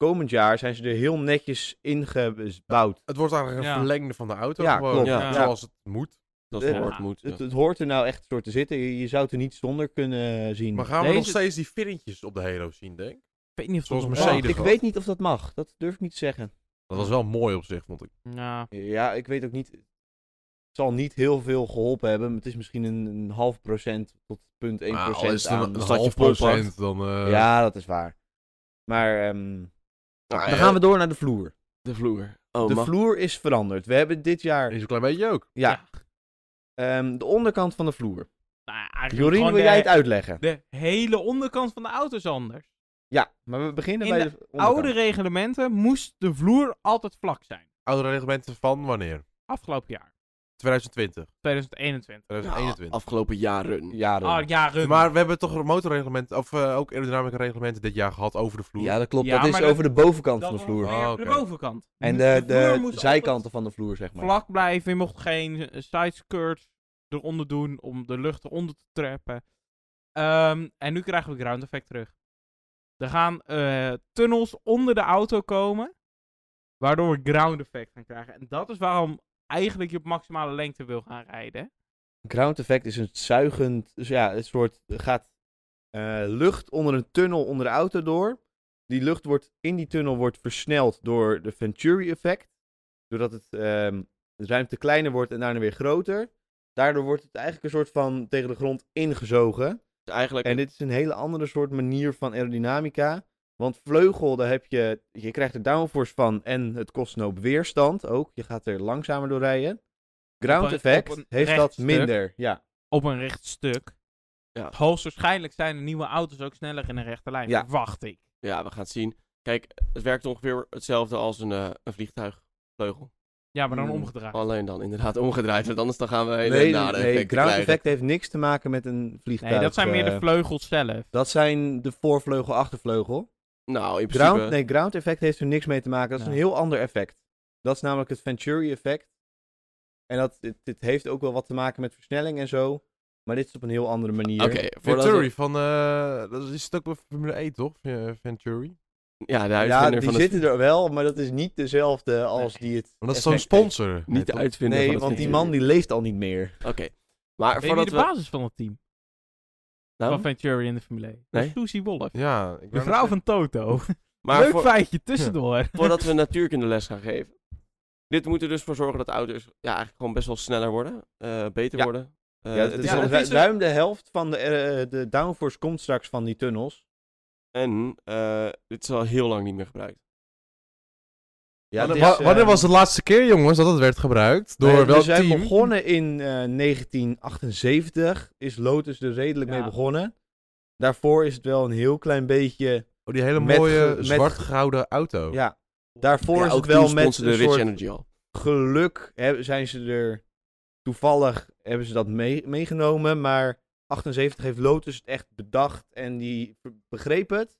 komend jaar zijn ze er heel netjes ingebouwd.
Het wordt eigenlijk een
Ja.
verlengde van de auto
Ja,
gewoon.
klopt.
Ja.
Zoals het moet.
Dat
Eh,
hoort moet.
Het,
ja.
het hoort er nou echt soort te zitten. Je, je zou het er niet zonder kunnen eh, zien.
Maar gaan we
Deze-
nog steeds die vinnetjes op de Halo zien, denk ik?
Ik weet niet of dat
Zoals
nog
Mercedes.
Oh, ik
wel.
weet niet of dat mag. Dat durf ik niet te zeggen.
Dat was wel mooi op zich, vond ik.
mag. Ja.
Ja, ik weet ook niet. Het zal niet heel veel geholpen hebben. Het is misschien een, een half procent tot punt 1
Maar al
procent
is het een,
aan.
een
dat je
half
vol pakt.
procent, dan... eh,
Ja, dat is waar. Maar ehm,
Nou,
dan
eh,
gaan we door naar de vloer.
De vloer. Oh,
De
mag-
vloer is veranderd. We hebben dit jaar...
Is een klein beetje ook.
Ja,
Ja.
ehm, de onderkant van de vloer.
Nou, eigenlijk
Jorien,
gewoon
wil
de-
jij het uitleggen?
De hele onderkant van de auto is anders.
Ja, maar we beginnen
In
bij
de
de, onderkant.
Oude reglementen moest de vloer altijd vlak zijn.
Oude reglementen van wanneer?
Afgelopen jaar,
2020,
2021.
Ja,
2021.
afgelopen jaren.
jaren.
Ah, jaren.
Maar we hebben toch motorreglementen, of eh, ook aerodynamica reglementen dit jaar gehad over de vloer.
Ja, dat klopt.
Ja,
dat is
maar dat-
over de bovenkant
Dat
van de
was
vloer.
meer
Ah, oké.
De bovenkant. Dus
En de,
vloer
de,
moest
zijkanten van de vloer, zeg
altijd
maar.
vlak blijven. Je mocht geen eh, sideskirts eronder doen om de lucht eronder te trappen. Ehm, en nu krijgen we ground effect terug. Er gaan eh, tunnels onder de auto komen, waardoor we ground effect gaan krijgen. En dat is waarom eigenlijk je op maximale lengte wil gaan rijden.
Ground effect is een zuigend, dus ja, een soort er gaat eh, lucht onder een tunnel onder de auto door. Die lucht wordt in die tunnel wordt versneld door de Venturi effect, doordat het ehm, de ruimte kleiner wordt en daarna weer groter. Daardoor wordt het eigenlijk een soort van tegen de grond ingezogen.
Dus eigenlijk,
En dit is een hele andere soort manier van aerodynamica. Want vleugel, daar heb je, je krijgt er downforce van en het kost een hoop weerstand ook. Je gaat er langzamer door rijden. Ground
Op een- op
effect
een
heeft dat
recht stuk.
minder. Ja,
Op een recht stuk.
Ja.
Hoogstwaarschijnlijk zijn de nieuwe auto's ook sneller in een rechte lijn.
Ja.
Verwacht ik.
ja, we gaan het zien. Kijk, het werkt ongeveer hetzelfde als een, eh, een vliegtuigvleugel.
Ja, maar dan
Hmm.
omgedraaid.
Alleen dan inderdaad omgedraaid, want anders dan gaan we hele
nee,
nare
nee,
effecten
ground
krijgen.
effect heeft niks te maken met een vliegtuig.
Nee, dat zijn meer
eh,
de vleugels zelf.
Dat zijn de voorvleugel, achtervleugel.
Nou, in principe...
Ground, nee, ground effect heeft er niks mee te maken. Dat is
Ja.
een heel ander effect. Dat is namelijk het Venturi effect. En dat, dit, dit heeft ook wel wat te maken met versnelling en zo. Maar dit is op een heel andere manier.
Oké, voordat we-
Venturi van... eh, dat is het ook bij Formule E, toch? Eh, Venturi?
Ja, de
Ja,
uitvinder
die
van het...
zitten er wel, maar dat is niet dezelfde als die het.
Want dat is
effect
zo'n sponsor.
heeft.
Niet de
toch?
uitvinder
Nee,
van het Eh,
want die
vliegtuig.
man die leeft al niet meer.
Oké. Maar
Weet je wie
voordat
de
we...
basis van het team? Van
Nou,
Venturi in de Formule 1. Dat is
Nee.
Susie Wolf.
Ja. ik
De
wou
vrouw
net
van Toto.
maar
Leuk
voor-
feitje tussendoor.
voordat we natuurkundeles gaan geven. Dit moet er dus voor zorgen dat auto's ja, eigenlijk gewoon best wel sneller worden. eh, beter
Ja.
worden. Eh,
ja, het is
ja,
al
het
ru-
is een-
ruim de helft van de, eh, de downforce komt straks van die tunnels.
En eh, dit is al heel lang niet meer gebruikt.
Ja,
wanneer,
dit is,
wa- wanneer
eh,
was de laatste keer, jongens, dat het werd gebruikt? Door
we,
welk
we zijn
team?
begonnen in eh, 1978. Is Lotus er redelijk
Ja.
mee begonnen. Daarvoor is het wel een heel klein beetje.
Oh, die hele
met
mooie
ge- met-
zwart-gouden auto.
Ja, daarvoor
Ja,
is
ook
het wel
toen
met
sponsorde
een
Rich
soort
Energy al.
geluk hè, zijn ze er toevallig hebben ze dat mee- meegenomen, maar 78 heeft Lotus het echt bedacht en die be- begreep het.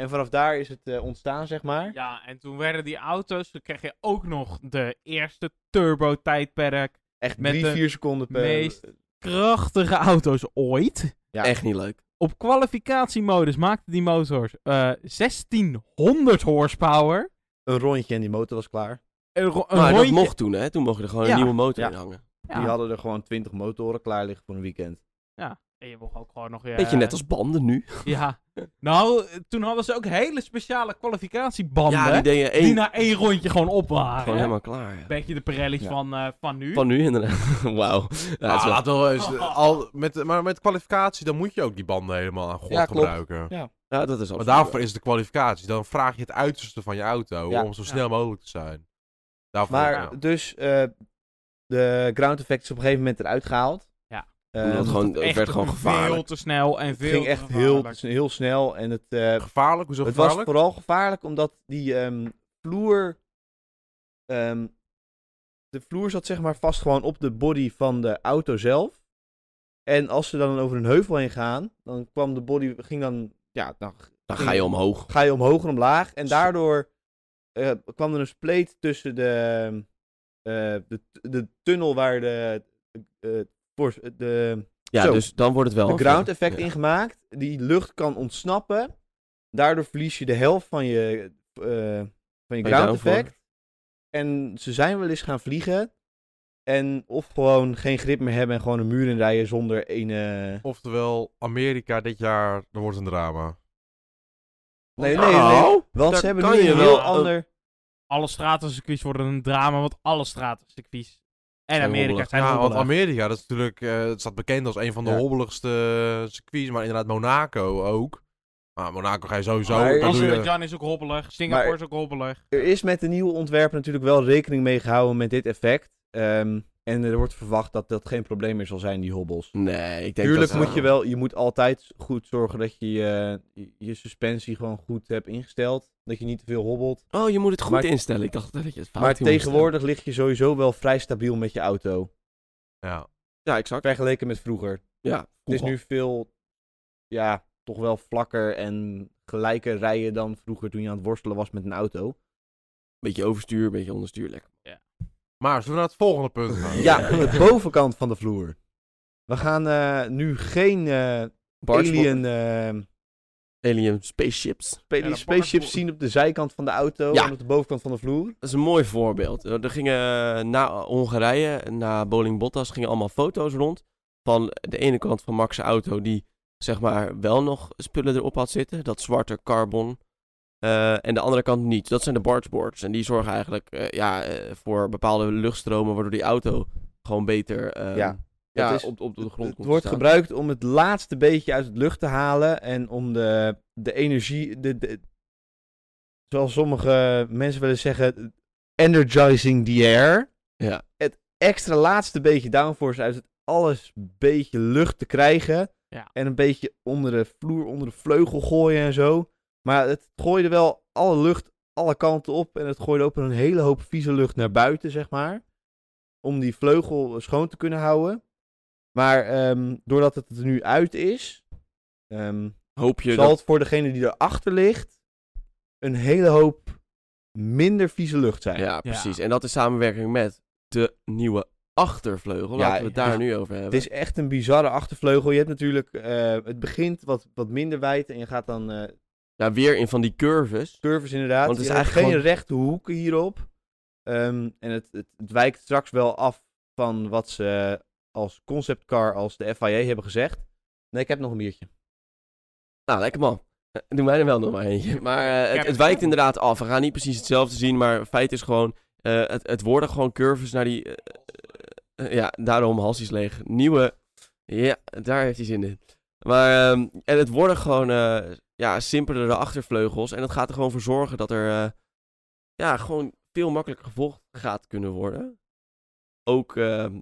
En vanaf daar is het eh, ontstaan, zeg maar.
Ja, en toen werden die auto's, toen kreeg je ook nog de eerste turbo-tijdperk.
echt
met
drie,
de
vier seconden per...
meest- Krachtige auto's ooit.
Ja.
Echt niet leuk.
Op kwalificatiemodus maakten die motors eh 1600 horsepower.
Een rondje en die motor was klaar.
Een, ro- een
maar
rondje-
Nou, dat mocht toen, hè? Toen mocht je er gewoon
Ja.
een nieuwe motor
Ja.
in hangen.
Ja.
Die hadden er gewoon 20 motoren klaar liggen voor een weekend.
En je mocht ook gewoon nog... eh,
Beetje net als banden nu.
Ja. Nou, eh, toen hadden ze ook hele speciale kwalificatiebanden.
Ja, die
die,
deed je één.
na één rondje gewoon op waren.
Gewoon helemaal klaar. ja.
Beetje de Pirelli's
Ja.
van, eh, van nu.
Van nu inderdaad. Wauw. Ja,
Ja,
Ah,
is Ah, wel-
laat wel eens, al, met, maar met kwalificatie, dan moet je ook die banden helemaal aan God
Ja, klopt.
gebruiken.
ja, dat is
Maar
absoluut
daarvoor
waar.
is de kwalificatie. Dan vraag je het uiterste van je auto
Ja.
om zo
Ja.
snel mogelijk te zijn. Daarvoor,
Maar
ja.
dus, eh, de ground effect is op een gegeven moment eruit gehaald.
Ja.
Eh,
Omdat gewoon- het
Echt
werd gewoon
veel
gevaarlijk.
te snel en
het
veel
ging
te
echt heel,
gevaarlijk.
heel snel en het... eh,
gevaarlijk? Hoezo
Het was
gevaarlijk?
vooral gevaarlijk omdat die ehm, vloer. ehm, de vloer zat zeg maar vast gewoon op de body van de auto zelf. En als ze dan over een heuvel heen gaan, dan kwam de body, ging dan, ja, dan
Dan ga je omhoog.
ga je omhoog en omlaag. En
Zo.
daardoor eh, kwam er een spleet tussen de, eh, de, de tunnel waar de, eh, voor- de
Ja,
Zo.
dus dan wordt het wel.
de
een
ground
ver-
effect
ja.
ingemaakt. Die lucht kan ontsnappen. Daardoor verlies je de helft van je, eh, van je
Van je
ground
downforce.
effect. En ze zijn wel eens gaan vliegen. En of gewoon geen grip meer hebben en gewoon een muur in rijden zonder ene...
Oftewel, Amerika dit jaar, dat wordt een drama.
Nee, nee, nee.
Nou,
Want
daar
ze hebben
kan
nu een
je
heel
wel eh, een-
ander...
Alle stratencircuits worden een drama, want alle stratencircuits en
Zijn
Amerika
hobbelig.
zijn
ja, want
hobbelig.
Amerika, dat is natuurlijk, eh, het staat bekend als een van de
Ja.
hobbeligste eh, circuits, maar inderdaad Monaco ook. Maar Monaco ga je sowieso.
Maar-
dan doe je,
Azerbaijan is ook hobbelig, Singapore
Maar-
is ook hobbelig.
Er is met de nieuwe ontwerpen natuurlijk wel rekening mee gehouden met dit effect. Ehm, en er wordt verwacht dat dat geen probleem meer zal zijn, die hobbels.
Nee, ik denk
Tuurlijk
dat, eh,
moet je wel, je moet altijd goed zorgen dat je eh, je, je suspensie gewoon goed hebt ingesteld. Dat je niet te veel hobbelt.
Oh, je moet het goed
Maar-
instellen. Ik dacht dat je het fout
maar
hier moest
tegenwoordig lig je sowieso wel vrij stabiel met je auto.
ja.
stellen. Ja, exact.
Vergeleken met vroeger.
Ja,
Het is nu veel, ja, toch wel vlakker en gelijker rijden dan vroeger toen je aan het worstelen was met een auto.
Beetje overstuur, beetje onderstuur. Lekker.
Maar zullen we naar het volgende punt gaan?
Ja, de bovenkant van de vloer. We gaan eh, nu geen eh,
Bart's
alien eh,
Alien spaceships.
Spelen die
dan pak ik
spaceships
voor-
zien op de zijkant van de auto
Ja.
en op de bovenkant van de vloer.
Dat is een mooi voorbeeld. Eh, Er gingen eh, na Hongarije, na Bowling Bottas, gingen allemaal foto's rond. Van de ene kant van Max' auto, die zeg maar wel nog spullen erop had zitten. Dat zwarte carbon. Eh, en de andere kant niet. Dat zijn de bargeboards. En die zorgen eigenlijk eh, ja, eh, voor bepaalde luchtstromen, waardoor die auto gewoon beter eh,
Ja,
ja,
dat is-
op, op de grond komt
Het
te
wordt
staan.
gebruikt om het laatste beetje uit het lucht te halen en om de, de energie, de, de- zoals sommige mensen willen zeggen, energizing the air.
Ja.
Het extra laatste beetje downforce uit het alles beetje lucht te krijgen.
Ja.
En een beetje onder de vloer, onder de vleugel gooien en zo. Maar het gooide wel alle lucht alle kanten op en het gooide ook een hele hoop vieze lucht naar buiten, zeg maar. Om die vleugel schoon te kunnen houden. Maar ehm, doordat het er nu uit is, ehm,
Hoop je
zal
dat...
het voor degene die erachter ligt een hele hoop minder vieze lucht zijn.
Ja, precies. En dat is samenwerking met de nieuwe achtervleugel.
Ja,
Laten we het daar
ja.
nu over
Het
hebben.
is echt een bizarre achtervleugel. Je hebt natuurlijk, eh, het begint wat, wat minder wijd en je gaat dan eh
Ja, weer in van die curves.
curves inderdaad.
Want het is
je hebt
eigenlijk
geen
gewoon-
rechte hoeken hierop. Ehm, en het, het, het wijkt straks wel af van wat ze als conceptcar, als de FIA hebben gezegd. Nee, ik heb nog een biertje.
Nou, lekker man. Eh, Doen wij er wel nog maar eentje. Maar eh, het,
dat
het
is
wijkt
goed.
inderdaad af. We gaan niet precies hetzelfde zien, maar feit is gewoon... eh, het, het worden gewoon curves naar die... eh, eh, ja, daarom hals is leeg. Nieuwe... Ja, daar heeft hij zin in. Maar ehm, en het worden gewoon eh, ja, simpelere achtervleugels. En dat gaat er gewoon voor zorgen dat er... eh, ja, gewoon veel makkelijker gevolgd gaat kunnen worden. Ook... ehm,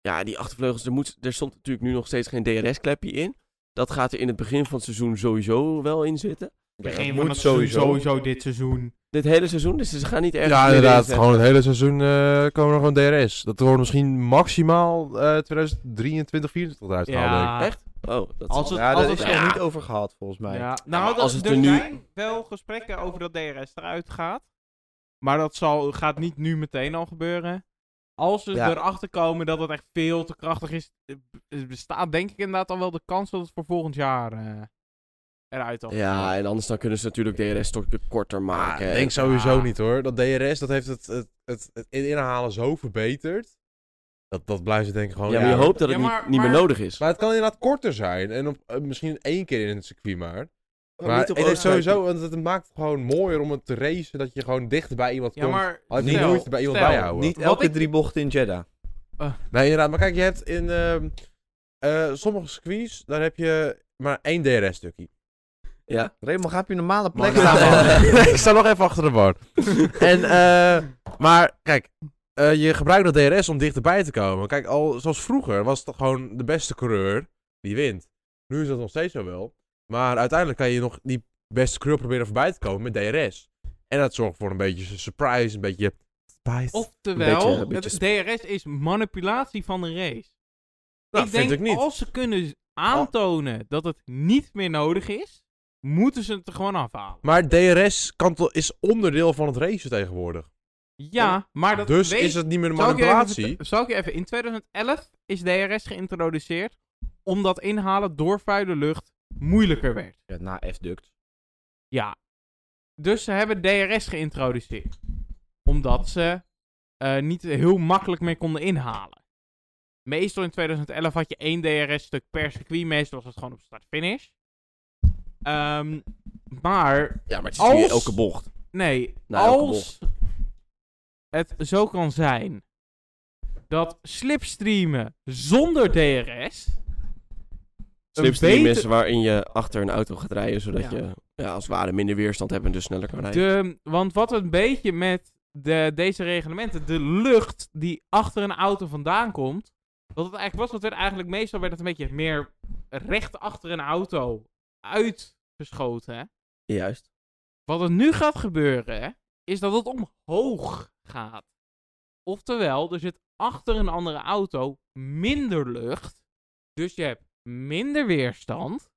ja, die achtervleugels, er, moet, er stond natuurlijk nu nog steeds geen DRS-klepje in. Dat gaat er in het begin van het seizoen sowieso wel in zitten.
dat
Begin
moet
van het seizoen,
sowieso.
sowieso dit seizoen.
Dit hele seizoen, dus ze gaan niet erg.
Ja, inderdaad. Gewoon het hele seizoen eh, komen er gewoon DRS. Dat wordt misschien maximaal eh 2023, 2024 eruit gehaald, denk ik.
Ja.
Echt? Oh, dat
Als het,
Ja, daar
als
is
het,
er
ja.
nog niet over gehad, volgens mij.
Ja.
maar
Nou, dat,
als het
er
er nu-
zijn wel gesprekken over dat DRS eruit gaat. Maar dat zal, gaat niet nu meteen al gebeuren. Als ze
Ja.
erachter komen dat het echt veel te krachtig is, eh, b- bestaat denk ik inderdaad al wel de kans dat het voor volgend jaar eh, eruit al
Ja, en anders dan kunnen ze natuurlijk DRS toch korter
Maar
maken.
ik denk sowieso niet hoor. Dat DRS, dat heeft het, het, het, het in- inhalen zo verbeterd. Dat, dat blijven ze denk ik gewoon...
ja, maar je
ja.
hoopt dat
Ja,
het
maar-
niet, niet meer
maar-
nodig is.
Maar het kan inderdaad korter zijn. En op, eh, misschien één keer in het circuit maar.
Maar
Maar
niet op
ik denk
Oostenrijk.
sowieso, want het maakt het gewoon mooier om het te racen. Dat je gewoon dichter bij iemand
Ja,
komt.
maar
Al heb je
stel-
nooit bij iemand
stel-
bijhouden.
Niet
Wat
elke
ik-
drie bochten in Jeddah.
Nee, inderdaad. Maar kijk, je hebt in ehm, eh, sommige circuits, daar heb je maar één DRS-stukje.
Ja.
Raymond, ga op je normale
Maar-
plek staan. man.
ik sta nog even achter de bar. en, eh, maar kijk, eh, je gebruikt dat DRS om dichterbij te komen. Kijk, al zoals vroeger was het gewoon de beste coureur die wint. Nu is dat nog steeds zo wel. Maar uiteindelijk kan je nog die beste coureur proberen voorbij te komen met DRS. En dat zorgt voor een beetje surprise, een beetje... Surprise.
Oftewel,
Beetje- beetje
het DRS is manipulatie van de race.
Nou,
ik
vind
denk,
ik niet.
als ze kunnen aantonen dat het niet meer nodig is, moeten ze het er gewoon afhalen.
Maar DRS kan to- is onderdeel van het racen tegenwoordig.
Ja, maar dat
dus
weet-
is het niet meer een
Zal ik je even
manipulatie.
vert- Zal ik je even... In 2011 is DRS geïntroduceerd omdat inhalen door vuile lucht moeilijker werd.
Ja, nou, na F-duct.
Ja. Dus ze hebben DRS geïntroduceerd. Omdat ze eh, niet heel makkelijk meer konden inhalen. Meestal in 2011 had je één DRS-stuk per circuit. Meestal was het gewoon op start-finish. Ehm, maar
ja, maar het is niet
Als-
elke bocht.
Nee,
Nou, elke
als het zo kan zijn dat slipstreamen zonder DRS.
Slipstream
beter-
is waarin je achter een auto gaat rijden, zodat
Ja.
je ja, als het ware minder weerstand hebt en dus sneller kan rijden.
De, want wat een beetje met de, deze reglementen, de lucht die achter een auto vandaan komt. Wat het eigenlijk was, dat werd eigenlijk meestal werd het een beetje meer recht achter een auto uitgeschoten. hè.
Juist.
Wat er nu gaat gebeuren, is dat het omhoog gaat. Oftewel, er zit achter een andere auto minder lucht. Dus je hebt minder weerstand.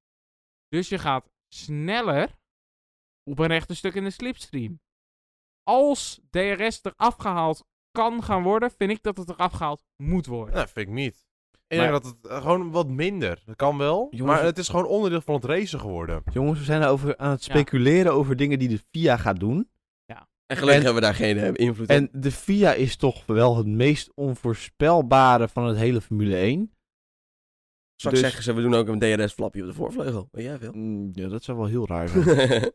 Dus je gaat sneller op een rechte stuk in de slipstream. Als DRS eraf gehaald kan gaan worden, vind ik dat het eraf gehaald moet worden.
Nou, vind ik niet. Ik denk dat het eh, gewoon wat minder. Dat kan wel.
Jongens,
maar het is gewoon onderdeel van het racen geworden.
Jongens, we zijn over aan het
Ja.
speculeren over dingen die de FIA gaat doen.
En gelukkig hebben we daar geen eh, invloed op.
En de FIA is toch wel het meest onvoorspelbare van het hele Formule 1.
Straks
dus-
zeggen ze, we doen ook een DRS-flapje op de voorvleugel. Weet jij veel?
Mm, ja, dat zou wel heel raar zijn.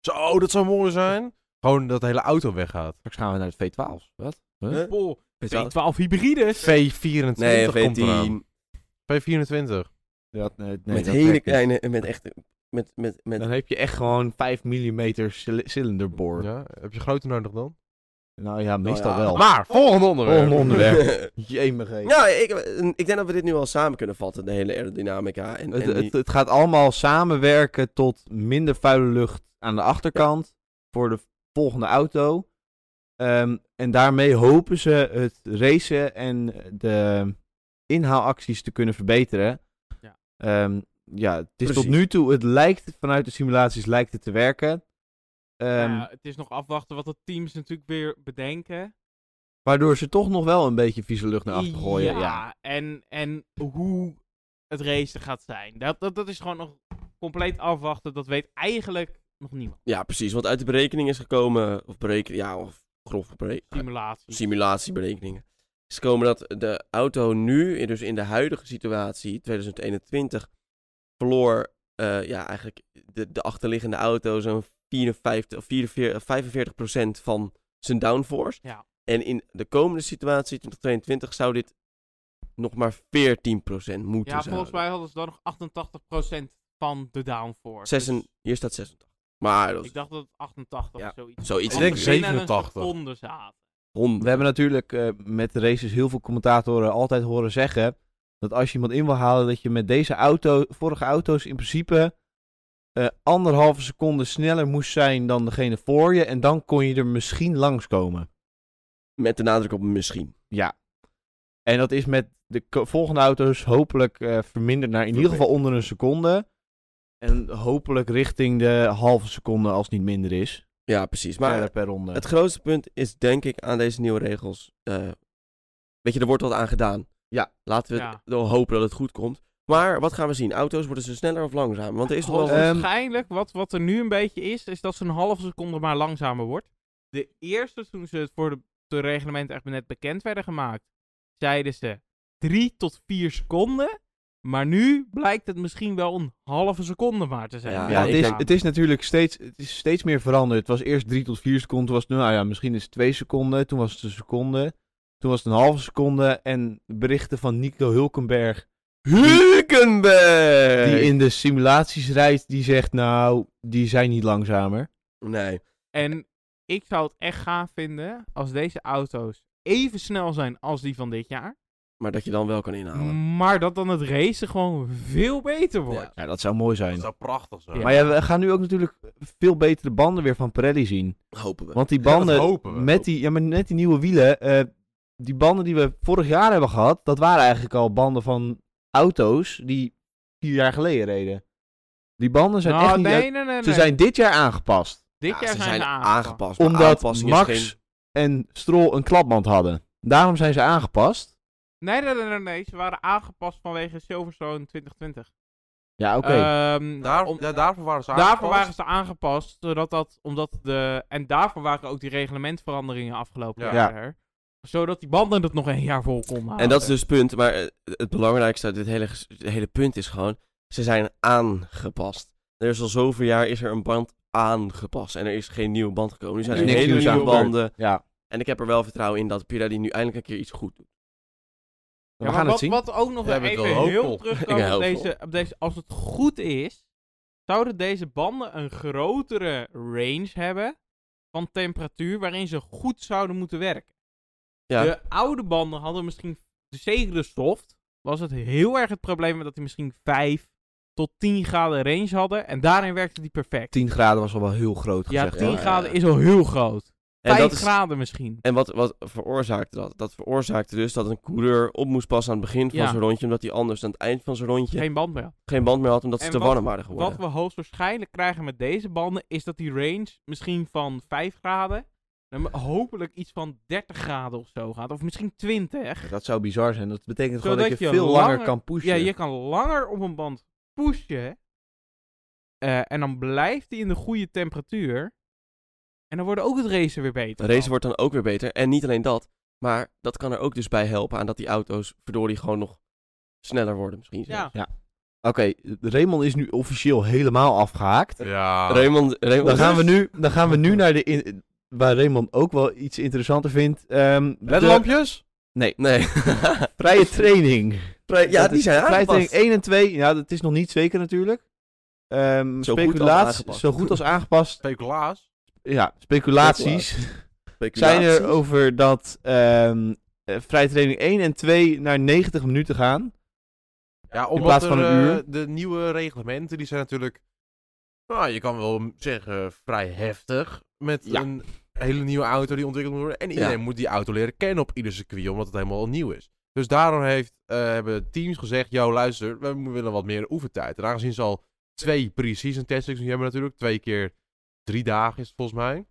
Zo, dat zou mooi zijn. Gewoon dat de hele auto weggaat.
Straks gaan we naar de V12. Wat?
Huh?
Pol,
Weet je wel?
12 hybrides.
V24
Nee,
komt eraan.
V10.
V24.
Ja, nee, nee,
Met
dat
hele
werkt niet.
kleine, met echt, met, met, met,
Dan heb je echt gewoon 5 mm cilinderboor.
Ja, heb je groter nodig dan?
Nou ja, meestal
ja.
wel.
Maar, volgende onderwerp.
Volgende onderwerp. Jemige.
Nou, ik, ik denk dat we dit nu al samen kunnen vatten, de hele aerodynamica. En,
Het,
en die-
het, het gaat allemaal samenwerken tot minder vuile lucht aan de achterkant voor de volgende auto. Ehm, en daarmee hopen ze het racen en de inhaalacties te kunnen verbeteren.
Ja.
Ehm, ja het is tot
Precies.
nu toe, het lijkt vanuit de simulaties lijkt het te werken. Ehm,
Ja, het is nog afwachten wat de teams natuurlijk weer bedenken.
Waardoor ze toch nog wel een beetje vieze lucht naar achter gooien. Ja.
En, en hoe het racen gaat zijn. Dat, dat, dat is gewoon nog compleet afwachten. Dat weet eigenlijk nog niemand.
ja, precies. Wat uit de berekening is gekomen, of bereken, ja, of grof berekening,
Simulatie.
simulatieberekeningen. Is gekomen dat de auto nu, in- dus in de huidige situatie, 2021, verloor eh, ja, eigenlijk de, de achterliggende auto zo'n 54 of 44 45 procent van zijn downforce.
Ja.
En in de komende situatie, 2022, zou dit nog maar 14 procent moeten
ja,
zijn.
volgens mij hadden ze dan nog 88% van de downforce.
Zes en-
Dus
hier staat 86. Maar dat is
ik dacht dat het 88
Ja,
of zoiets
zoiets.
was.
Ik denk
Omdat ze binnen een
87.
seconde zaten.
We hebben natuurlijk eh, met de races heel veel commentatoren altijd horen zeggen dat als je iemand in wil halen, dat je met deze auto, vorige auto's in principe eh, anderhalve seconde sneller moest zijn dan degene voor je. En dan kon je er misschien langskomen.
Met de nadruk op misschien.
Ja. En dat is met de ko- volgende auto's hopelijk eh, verminderd naar in ieder geval onder een seconde. En hopelijk richting de halve seconde als het niet minder is.
Ja, precies. Maar
Maar per ronde.
het grootste punt is denk ik aan deze nieuwe regels. eh, weet je, er wordt wat aan gedaan.
Ja.
Laten we
Ja.
wel hopen dat het goed komt. Maar wat gaan we zien? Auto's worden ze sneller of langzamer? Want er is nog wel...
Eh,
wat-
Waarschijnlijk, wat, wat er nu een beetje is, is dat ze een halve seconde maar langzamer wordt. De eerste, toen ze het voor de, de reglementen echt net bekend werden gemaakt, zeiden ze 3 tot 4 seconden. Maar nu blijkt het misschien wel een halve seconde maar te zijn.
Ja,
Ja, het
ik
is,
denk-
het is natuurlijk steeds, het is steeds meer veranderd. Het was eerst 3 tot 4 seconden. Toen was het, nou ja, misschien is het 2 seconden. Toen was het een seconde. Toen was het een halve seconde. En berichten van Nico Hulkenberg,
Hulkenberg!
die in de simulaties rijdt, die zegt, nou, die zijn niet langzamer.
Nee.
En ik zou het echt gaaf vinden als deze auto's even snel zijn als die van dit jaar.
Maar dat je dan wel kan
Nou, Mm.
inhalen.
Maar dat dan het racen gewoon veel beter wordt.
Ja, dat zou mooi
Dat
zijn.
zou prachtig zijn.
Maar ja, we gaan nu ook natuurlijk veel betere banden weer van Pirelli zien.
Hopen we.
Want die
Ja, dat
banden,
hopen we.
met, die, ja, maar met die nieuwe wielen, eh, die banden die we vorig jaar hebben gehad, dat waren eigenlijk al banden van auto's die vier jaar geleden reden. Die banden zijn
Nou,
echt niet...
nee,
uit-
nee, nee, nee.
Ze zijn dit jaar aangepast,
dit
Ja,
jaar
ze zijn
Dus
aangepast. maar
omdat
aanpassing is
Max
geen-
en Stroll een klapband hadden. Daarom zijn ze aangepast.
Nee, nee, nee, nee, nee. Ze waren aangepast vanwege Silverstone 2020.
Ja, oké.
Ehm,
Daar,
om-
ja, daarvoor waren ze
daarvoor
aangepast.
waren ze aangepast, zodat dat, omdat de, en daarvoor waren ook die reglementveranderingen afgelopen
Ja.
jaar er. Zodat die banden het nog een jaar vol konden
Oh.
houden.
En dat is dus het punt. Maar eh, het belangrijkste uit dit hele, ges- het hele punt is gewoon... Ze zijn aangepast. Er is al zoveel jaar is er een band aangepast. En er is geen nieuwe band gekomen. Nu zijn er
Niks
hele
nieuws
nieuwe
aan gebeurd.
banden.
ja.
En ik heb er wel vertrouwen in dat Pirelli nu eindelijk een keer iets goed doet.
We
Ja, maar
gaan
wat,
het zien.
Wat ook nog
Jij bent wel
even
hoopvol.
heel
Ik ben
terugkomt op
hoopvol.
deze, op deze... Als het goed is, zouden deze banden een grotere range hebben van temperatuur waarin ze goed zouden moeten werken.
Ja.
De oude banden hadden misschien... de Zeker de soft was het heel erg het probleem dat die misschien 5 tot 10 graden range hadden. En daarin werkte die perfect.
10 graden was al wel heel groot
ja,
gezegd.
10
hoor.
ja,
graden
ja.
is al heel groot.
En,
5
dat is,
graden misschien.
en wat, wat veroorzaakte dat? Dat veroorzaakte dus dat een coureur op moest passen aan het begin van
Ja.
zijn rondje. Omdat hij anders aan het eind van zijn rondje geen,
Geen band meer.
band meer had. Omdat ze
En
te
wat-
warm waren geworden.
Wat we hoogstwaarschijnlijk krijgen met deze banden is dat die range misschien van 5 graden nou, maar hopelijk iets van 30 graden of zo gaat. Of misschien 20.
Dat zou bizar zijn. Dat betekent gewoon dat
Zodat
je,
je
veel langer,
langer-
kan pushen.
Ja, je kan langer op een band pushen. Eh, en dan blijft hij in de goede temperatuur. En dan wordt ook het race weer beter.
De race wordt dan ook weer beter. En niet alleen dat, maar dat kan er ook dus bij helpen aan dat die auto's verdorie gewoon nog sneller worden misschien.
Ja.
zelfs.
Oké, Raymond is nu officieel helemaal afgehaakt.
Ja.
Raymond, Raymond
Dan gaan we nu, dan gaan we nu naar de... in- waar Raymond ook wel iets interessanter vindt. ehm de-
LED-lampjes?
Nee.
Vrije training.
ja,
Dat
die
is- Vrije
zijn
training
aangepast.
1 en 2, ja, dat is nog niet zeker natuurlijk. Ehm
Zo goed als
speculatie,
aangepast.
zo goed als aangepast.
Speculaas?
Ja, speculaties zijn er over dat ehm eh, vrije training 1 en 2 naar 90 minuten gaan.
Ja, omdat
plaats van
er,
een
eh,
uur.
de nieuwe reglementen, die zijn natuurlijk... Nou, je kan wel m- zeggen, vrij heftig. Met
Ja.
een hele nieuwe auto die ontwikkeld moet worden. En iedereen moet die auto leren kennen op ieder circuit, omdat het helemaal nieuw is. Dus daarom heeft, eh, hebben teams gezegd, yo, luister, we mo- willen wat meer oefentijd. En aangezien ze al twee pre-season testings nu hebben natuurlijk, twee keer drie dagen is het volgens mij.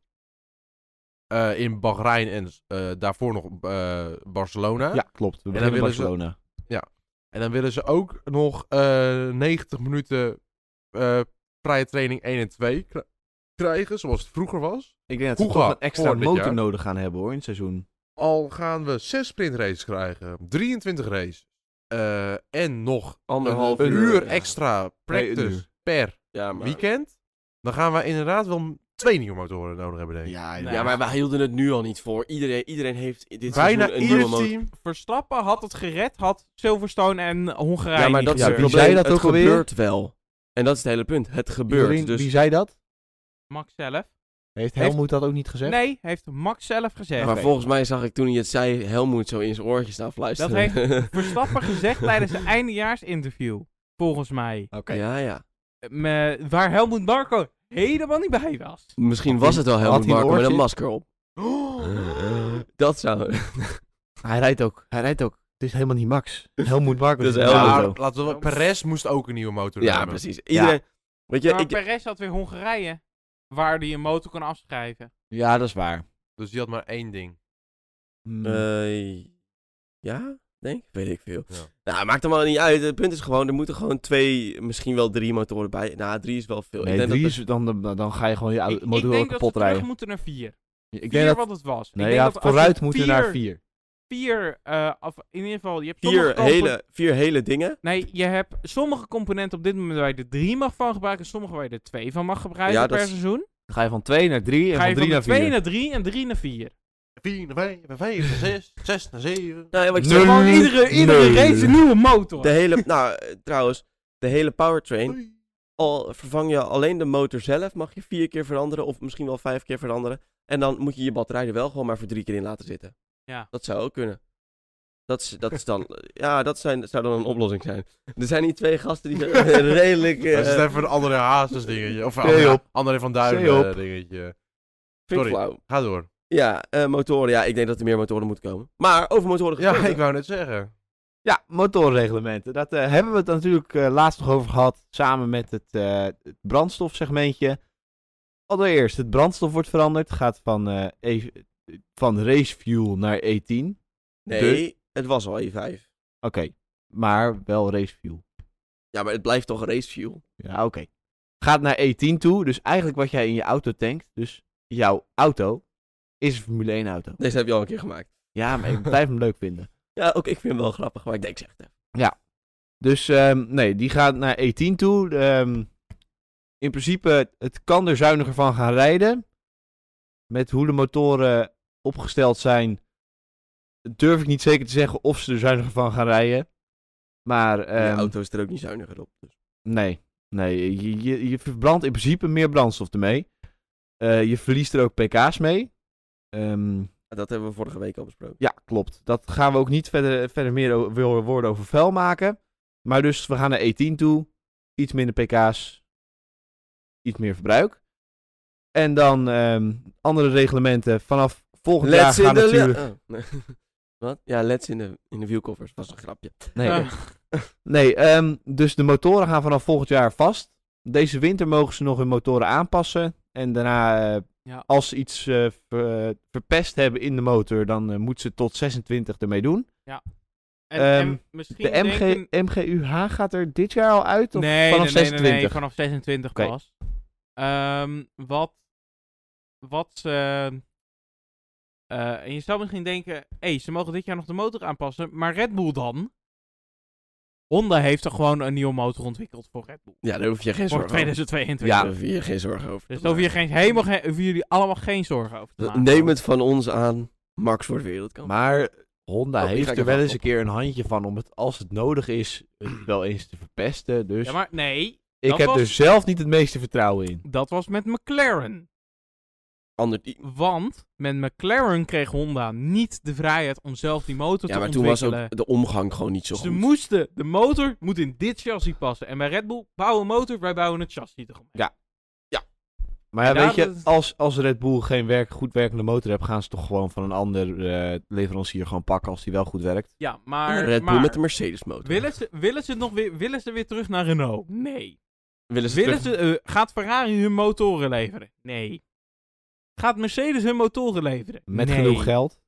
Eh, in Bahrein en eh, daarvoor nog eh, Barcelona.
Ja, klopt. We
dan
beginnen in
willen ze-
Barcelona.
En dan willen ze ook nog eh, 90 minuten eh, vrije training 1 en 2 kri- krijgen, zoals het vroeger was.
Ik denk dat ze
Koega
toch een extra
voor dit
motor
jaar.
nodig gaan hebben hoor, in het seizoen.
Al gaan we 6 sprintraces krijgen, 23 races eh, en nog
Anderhalf
een
uur,
uur,
ja.
extra practice
Nee, een uur.
per
Ja, maar...
weekend. Dan gaan we inderdaad wel m- twee nieuwe motoren nodig hebben, denk ik.
Ja,
Ja, maar wij hielden het nu al niet voor. Iedereen, iedereen heeft dit
Bijna
seizoen een
ieder
nieuwe motor.
team.
Verstappen had het gered, had Silverstone en Hongarije
Ja, maar
niet
dat is
Ja, wie
het
gebeurd.
probleem.
zei dat
het
ook alweer?
gebeurt wel. En dat is het hele punt. Het gebeurt.
Iedereen-
dus
Wie zei dat?
Max zelf.
Heeft
Heeft-
Helmoet dat ook niet gezegd?
Nee, heeft Max zelf gezegd.
Maar volgens mij zag ik toen hij het zei, Helmoet zo in zijn oortje staan fluisteren.
Dat Verstappen gezegd tijdens het eindejaarsinterview. Volgens mij. Eh,
Oké.
Ja, ja.
Me- waar Helmut Marco helemaal niet bij was.
Misschien
Had
was
hij-
het wel
had
Helmoet
hij een
Marco met een
oortje?
masker op. Oh. Dat zou...
Hij rijdt ook. Hij rijdt ook. Het is helemaal niet Max. Helmoet Marco.
Dus Helmoet
Ja,
zo.
laten we, Perez moest ook een nieuwe motor
Ja,
nemen.
precies. Iedereen... Weet je,
maar
ik...
Perez had weer Hongarije. Waar hij een motor kon afschrijven.
Ja, dat is waar.
Dus die had maar één ding.
Hmm.
eh, ja, denk ik. Weet ik veel.
Ja.
Nou, maakt allemaal niet uit. Het punt is gewoon, er moeten gewoon twee, misschien wel drie motoren bij. Nou, drie is wel veel.
Nee,
ik denk
drie
dat
is, dan, dan, dan ga je gewoon je
Ik-
auto-
ik,
motor wel
denk dat
kapot
we terug
rijden.
moeten naar vier.
Ik
vier
denk dat,
wat het was. Ik
nee,
denk
ja,
dat als
vooruit
je
moeten naar vier.
Vier, eh, of in ieder geval, je hebt sommige
vier,
kampen-
hele, vier hele dingen.
Nee, je hebt sommige componenten op dit moment waar je er drie mag van gebruiken. Sommige waar je er twee van mag gebruiken
Ja,
per
dat is-
seizoen.
Dan ga je van 2 naar 3 en
Ga
van
je
3
van
naar
de twee
4.
naar drie en drie naar vier.
4 naar 5, 5 naar 6, 6 naar 7.
Nou, ja, wat ik
Nul.
zeg,
Gewoon iedere, iedere
Nee.
race een nieuwe motor.
de hele, nou, eh, trouwens, de hele powertrain. al vervang je alleen de motor zelf, mag je vier keer veranderen of misschien wel vijf keer veranderen. En dan moet je je batterij er wel gewoon maar voor drie keer in laten zitten.
Ja.
Dat zou ook kunnen. Dat, is, dat is dan, ja, dat zijn, zou dan een oplossing zijn. Er zijn hier twee gasten die zijn redelijk... eh,
Dat is het even een andere Hazes dingetje. Of een
Zee
andere,
op.
andere Van Duinen
Zee op.
eh, dingetje.
vind ik
sorry.
flauw.
Ga door.
Ja, eh, motoren. Ja, ik denk dat er meer motoren moeten komen. Maar over motoren
Ja,
gesproken.
ik wou net zeggen.
Ja, motorreglementen. Dat eh, hebben we het natuurlijk eh, laatst nog over gehad. Samen met het, eh, het brandstofsegmentje. Allereerst, het brandstof wordt veranderd. Gaat van, eh, E- van race fuel naar E E10. Oké,
Nee, het was al E E5.
maar wel race fuel.
Ja, maar het blijft toch racefuel.
Ja, Ah, oké. Gaat naar E10 toe. Dus eigenlijk wat jij in je auto tankt. Dus jouw auto is een Formule 1 auto.
Deze heb je al een keer gemaakt.
Ja, maar ik blijf hem leuk vinden.
Ja, ook ik vind hem wel grappig, maar ik denk zeg het even.
Dus ehm, nee, die gaat naar E10 toe. Ehm, in principe, het kan er zuiniger van gaan rijden. Met hoe de motoren opgesteld zijn, durf ik niet zeker te zeggen of ze er zuiniger van gaan rijden. Maar
De
ehm,
auto is er ook niet zuiniger op. Dus.
nee, nee je, je, je verbrandt in principe meer brandstof ermee. Eh, je verliest er ook pk's mee. Ehm,
Dat hebben we vorige week al besproken.
ja, klopt. Dat gaan we ook niet verder, verder meer o- wo- woorden over vuil maken. Maar dus we gaan naar E10 toe. Iets minder pk's. Iets meer verbruik. En dan ehm, andere reglementen. Vanaf volgend
Let's
jaar
in
gaan
the
natuurlijk...
le- Oh, nee. Wat? Ja, let's in de, in de wielkoffers. Was een grapje.
Nee,
Eh,
nee ehm, dus de motoren gaan vanaf volgend jaar vast. Deze winter mogen ze nog hun motoren aanpassen. En daarna eh,
Ja.
Als ze iets eh, ver- verpest hebben in de motor, dan eh, moet ze tot 26 ermee doen.
En, en
Ehm,
misschien
De MG,
denken-
MGUH gaat er dit jaar al uit? Of
nee,
vanaf
nee, nee,
26?
Nee, nee, vanaf 26
Oké.
pas. Ehm, wat, wat ze... eh, en je zou misschien denken, hé, ze mogen dit jaar nog de motor aanpassen, maar Red Bull dan? Honda heeft er gewoon een nieuwe motor ontwikkeld voor Red Bull.
Ja, daar hoef je geen
Voor
zorgen over.
2022.
Ja, daar hoef je geen zorgen over.
Dus
te
daar hoef je
maken.
geen, helemaal geen, hoeven jullie allemaal geen zorgen over te maken.
Neem het van ons aan. Max wordt wereldkampioen.
Maar Honda
Oh, die ga
heeft
ik
er
even
wel eens een
afkloppen.
keer een handje van om het, als het nodig is, het wel eens te verpesten. Dus
Ja, maar nee,
ik
dat
heb
was-
er zelf niet het meeste vertrouwen in.
dat was met McLaren.
Ander team.
Want met McLaren kreeg Honda niet de vrijheid om zelf die motor
Ja,
te
maar toen was
ontwikkelen.
ook de omgang gewoon niet zo
Ze
goed.
moesten, de motor moet in dit chassis passen. En bij Red Bull, bouwen een motor, wij bouwen het chassis eromheen.
Ja. Maar ja,
Ja,
weet je,
dat-
als, als Red Bull geen werk, goed werkende motor hebt, gaan ze toch gewoon van een ander eh, leverancier gewoon pakken als die wel goed werkt.
Ja, maar,
Red Bull
maar
met de Mercedes motor.
willen, ze, willen, ze het nog weer, willen ze weer terug naar Renault? Nee.
Willen ze
Willen
terug-
ze, eh, gaat Ferrari hun motoren leveren? Nee. Gaat Mercedes hun motoren leveren?
Met
nee.
genoeg geld.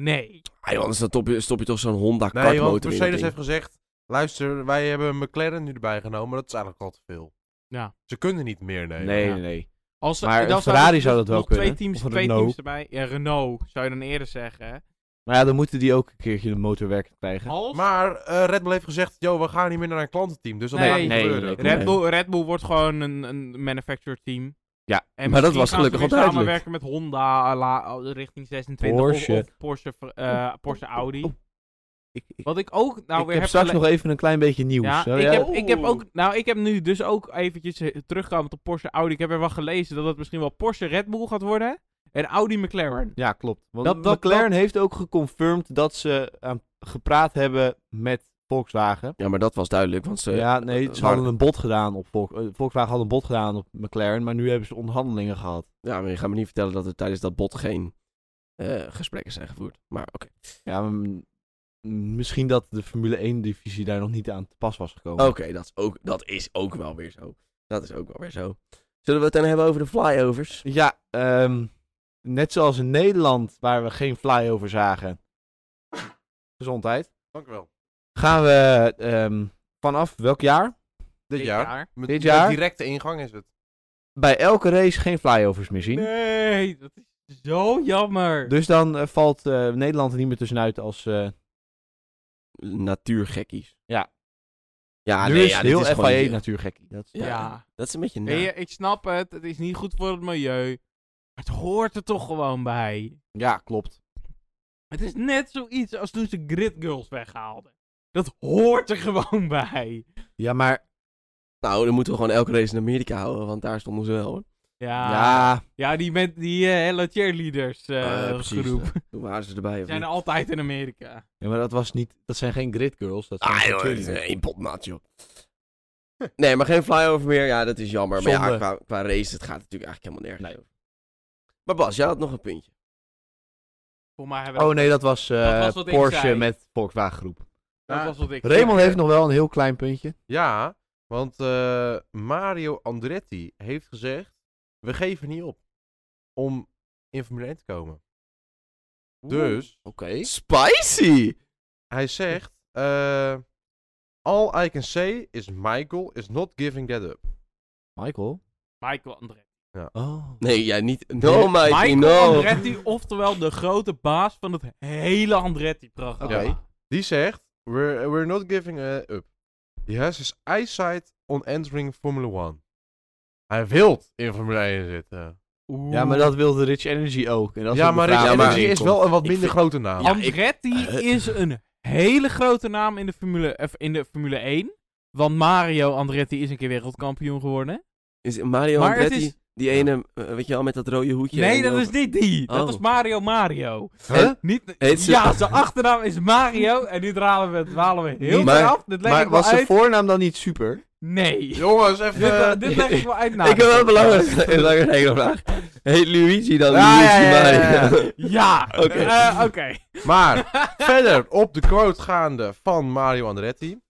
Nee.
Ah, joh, anders dan top je- stop je toch zo'n Honda
Nee,
kartmotor
want
in dat
Mercedes
ding.
heeft gezegd... Luister, wij hebben een McLaren nu erbij genomen. maar Dat is eigenlijk al te veel.
Ja.
Ze kunnen niet meer, nee.
Nee,
ja.
nee, nee.
Als, ze-
Maar
dan
een Ferrari
er dus
zou
nog-
dat wel
nog
kunnen,
Twee teams,
of een
twee
Renault.
teams erbij. Ja, Renault zou je dan eerder zeggen. hè.
Maar ja, dan moeten die ook een keertje de motor werken krijgen.
Als
Maar eh, Red Bull heeft gezegd... Yo, we gaan niet meer naar een klantenteam. Dus dat
Nee,
gaat niet
nee,
gebeuren.
nee, nee.
Red Bull, Red Bull wordt gewoon een, een manufacturer team.
Ja,
en
maar dat
misschien
was
gaan ze
gelukkig
weer
al duidelijk.
samenwerken met Honda à la- à- richting 26 of-
Porsche.
of, Porsche, eh, Porsche Audi.
Oh, Ik, ik,
Wat ik ook nou
ik heb
weer heb
straks
gele-
nog even een klein beetje nieuws.
ja,
Zou
ik,
jij-
heb, ik heb ook, nou ik heb nu dus ook eventjes eh, terugkomend op Porsche Audi. Ik heb er wel gelezen dat het misschien wel Porsche Red Bull gaat worden en Audi McLaren.
Ja, klopt. Want
Dat- dat-
McLaren heeft ook geconfirmed dat ze aan- gepraat hebben met Volkswagen.
Ja, maar dat was duidelijk, want ze...
ja, nee, ze
waar-
hadden een bod gedaan op Volk- eh, Volkswagen had een bod gedaan op McLaren, maar nu hebben ze onderhandelingen gehad.
Ja, maar je gaat me niet vertellen dat er tijdens dat bot geen eh, gesprekken zijn gevoerd. Maar oké.
Ja, m- misschien dat de Formule 1 divisie daar nog niet aan te pas was gekomen.
Oké, dat, is ook- dat is ook wel weer zo. Dat is ook wel weer zo. Zullen we het dan hebben over de flyovers?
Ja, ehm, net zoals in Nederland, waar we geen flyover zagen. Gezondheid.
Dank u wel.
Gaan we ehm, vanaf welk jaar?
Dit jaar. Met,
Dit
met
jaar?
directe ingang is het.
Bij elke race geen flyovers meer zien.
Nee, dat is zo jammer.
Dus dan eh, valt eh, Nederland er niet meer tussenuit als... eh,
Natuurgekkies.
Ja.
Ja,
nu
nee,
is
ja, dit
dus heel
is gewoon niet-
FIA natuurgekkie. Dat is-
Ja,
Ja.
Dat is een beetje
Nee,
naar.
ik snap het. Het is niet goed voor het milieu. Maar het hoort er toch gewoon bij.
ja, klopt.
Het is net zoiets als toen ze Grid Girls weghaalden. Dat hoort er gewoon bij.
Ja, maar
Nou, dan moeten we gewoon elke race in Amerika houden, want daar stonden ze wel hoor.
Ja, ja.
ja,
die, met, die eh hele cheerleaders eh,
Eh, precies,
groep.
eh, Toen waren ze erbij. Of
zijn
niet?
altijd in Amerika.
Ja, maar dat was niet. Dat zijn geen grid girls. Dat zijn
Ah
gewoon
joh, het is
cheerleaders.
één potnat joh. Nee, maar geen flyover meer. Ja, dat is jammer. Maar ja,
Zonde.
qua, qua race, het gaat natuurlijk eigenlijk helemaal nergens over. Maar Bas, jij had nog een puntje.
Voor mij hebben
Oh nee, dat was, eh,
Dat was wat ik
Porsche
zei.
met Volkswagen groep.
dat
Ja.
was wat ik
Raymond
zei.
heeft nog wel een heel klein puntje.
Ja, want eh, Mario Andretti heeft gezegd: we geven niet op om in Formule 1 te komen. Dus
Oké. Spicy!
hij zegt: eh, All I can say is Michael is not giving that up.
Michael.
Michael Andretti.
Oh.
Nee, jij niet. No, Mikey,
Michael
no.
Andretti, oftewel de grote baas van het hele Andretti-programma.
Oké. Die zegt: we're, we're not giving eh, up. He has his eyesight on entering Formula 1. Hij wil in Formule 1 zitten.
Oeh.
Ja, maar dat wilde Rich Energy ook. En dat is
ja,
ook de
maar
vraag
Rich
Ja,
waar
maar-
die
Energy
in
is
komt.
wel een wat
Ik
minder
vind-
grote naam.
Ja, ik-
Andretti is een hele grote naam in de, Formule, of in de Formule 1. Want Mario Andretti is een keer wereldkampioen geworden.
Is Mario
Maar het
Andretti,
is-
die ene, eh, weet je wel, met dat rode hoedje?
nee,
en
dat
over-
is niet die. Dat
Oh.
is Mario Mario.
Huh?
Niet,
Heet ze-
Ja, zijn achternaam is Mario. En nu dralen we, dwalen we heel
Maar-
ver af. Dit leg
Maar
ik wel
was
uit.
zijn voornaam dan niet super?
Nee.
Jongens, even.
dit, eh, dit leg ik wel uit. na
ik
de
heb wel een
podcast.
belangrijke een belangrijke vraag. Heet Luigi dan
Ja,
Luigi
ja, ja, ja, ja.
Mario?
Ja, Eh,
Oké.
oké.
Maar verder op de quote gaande van Mario Andretti.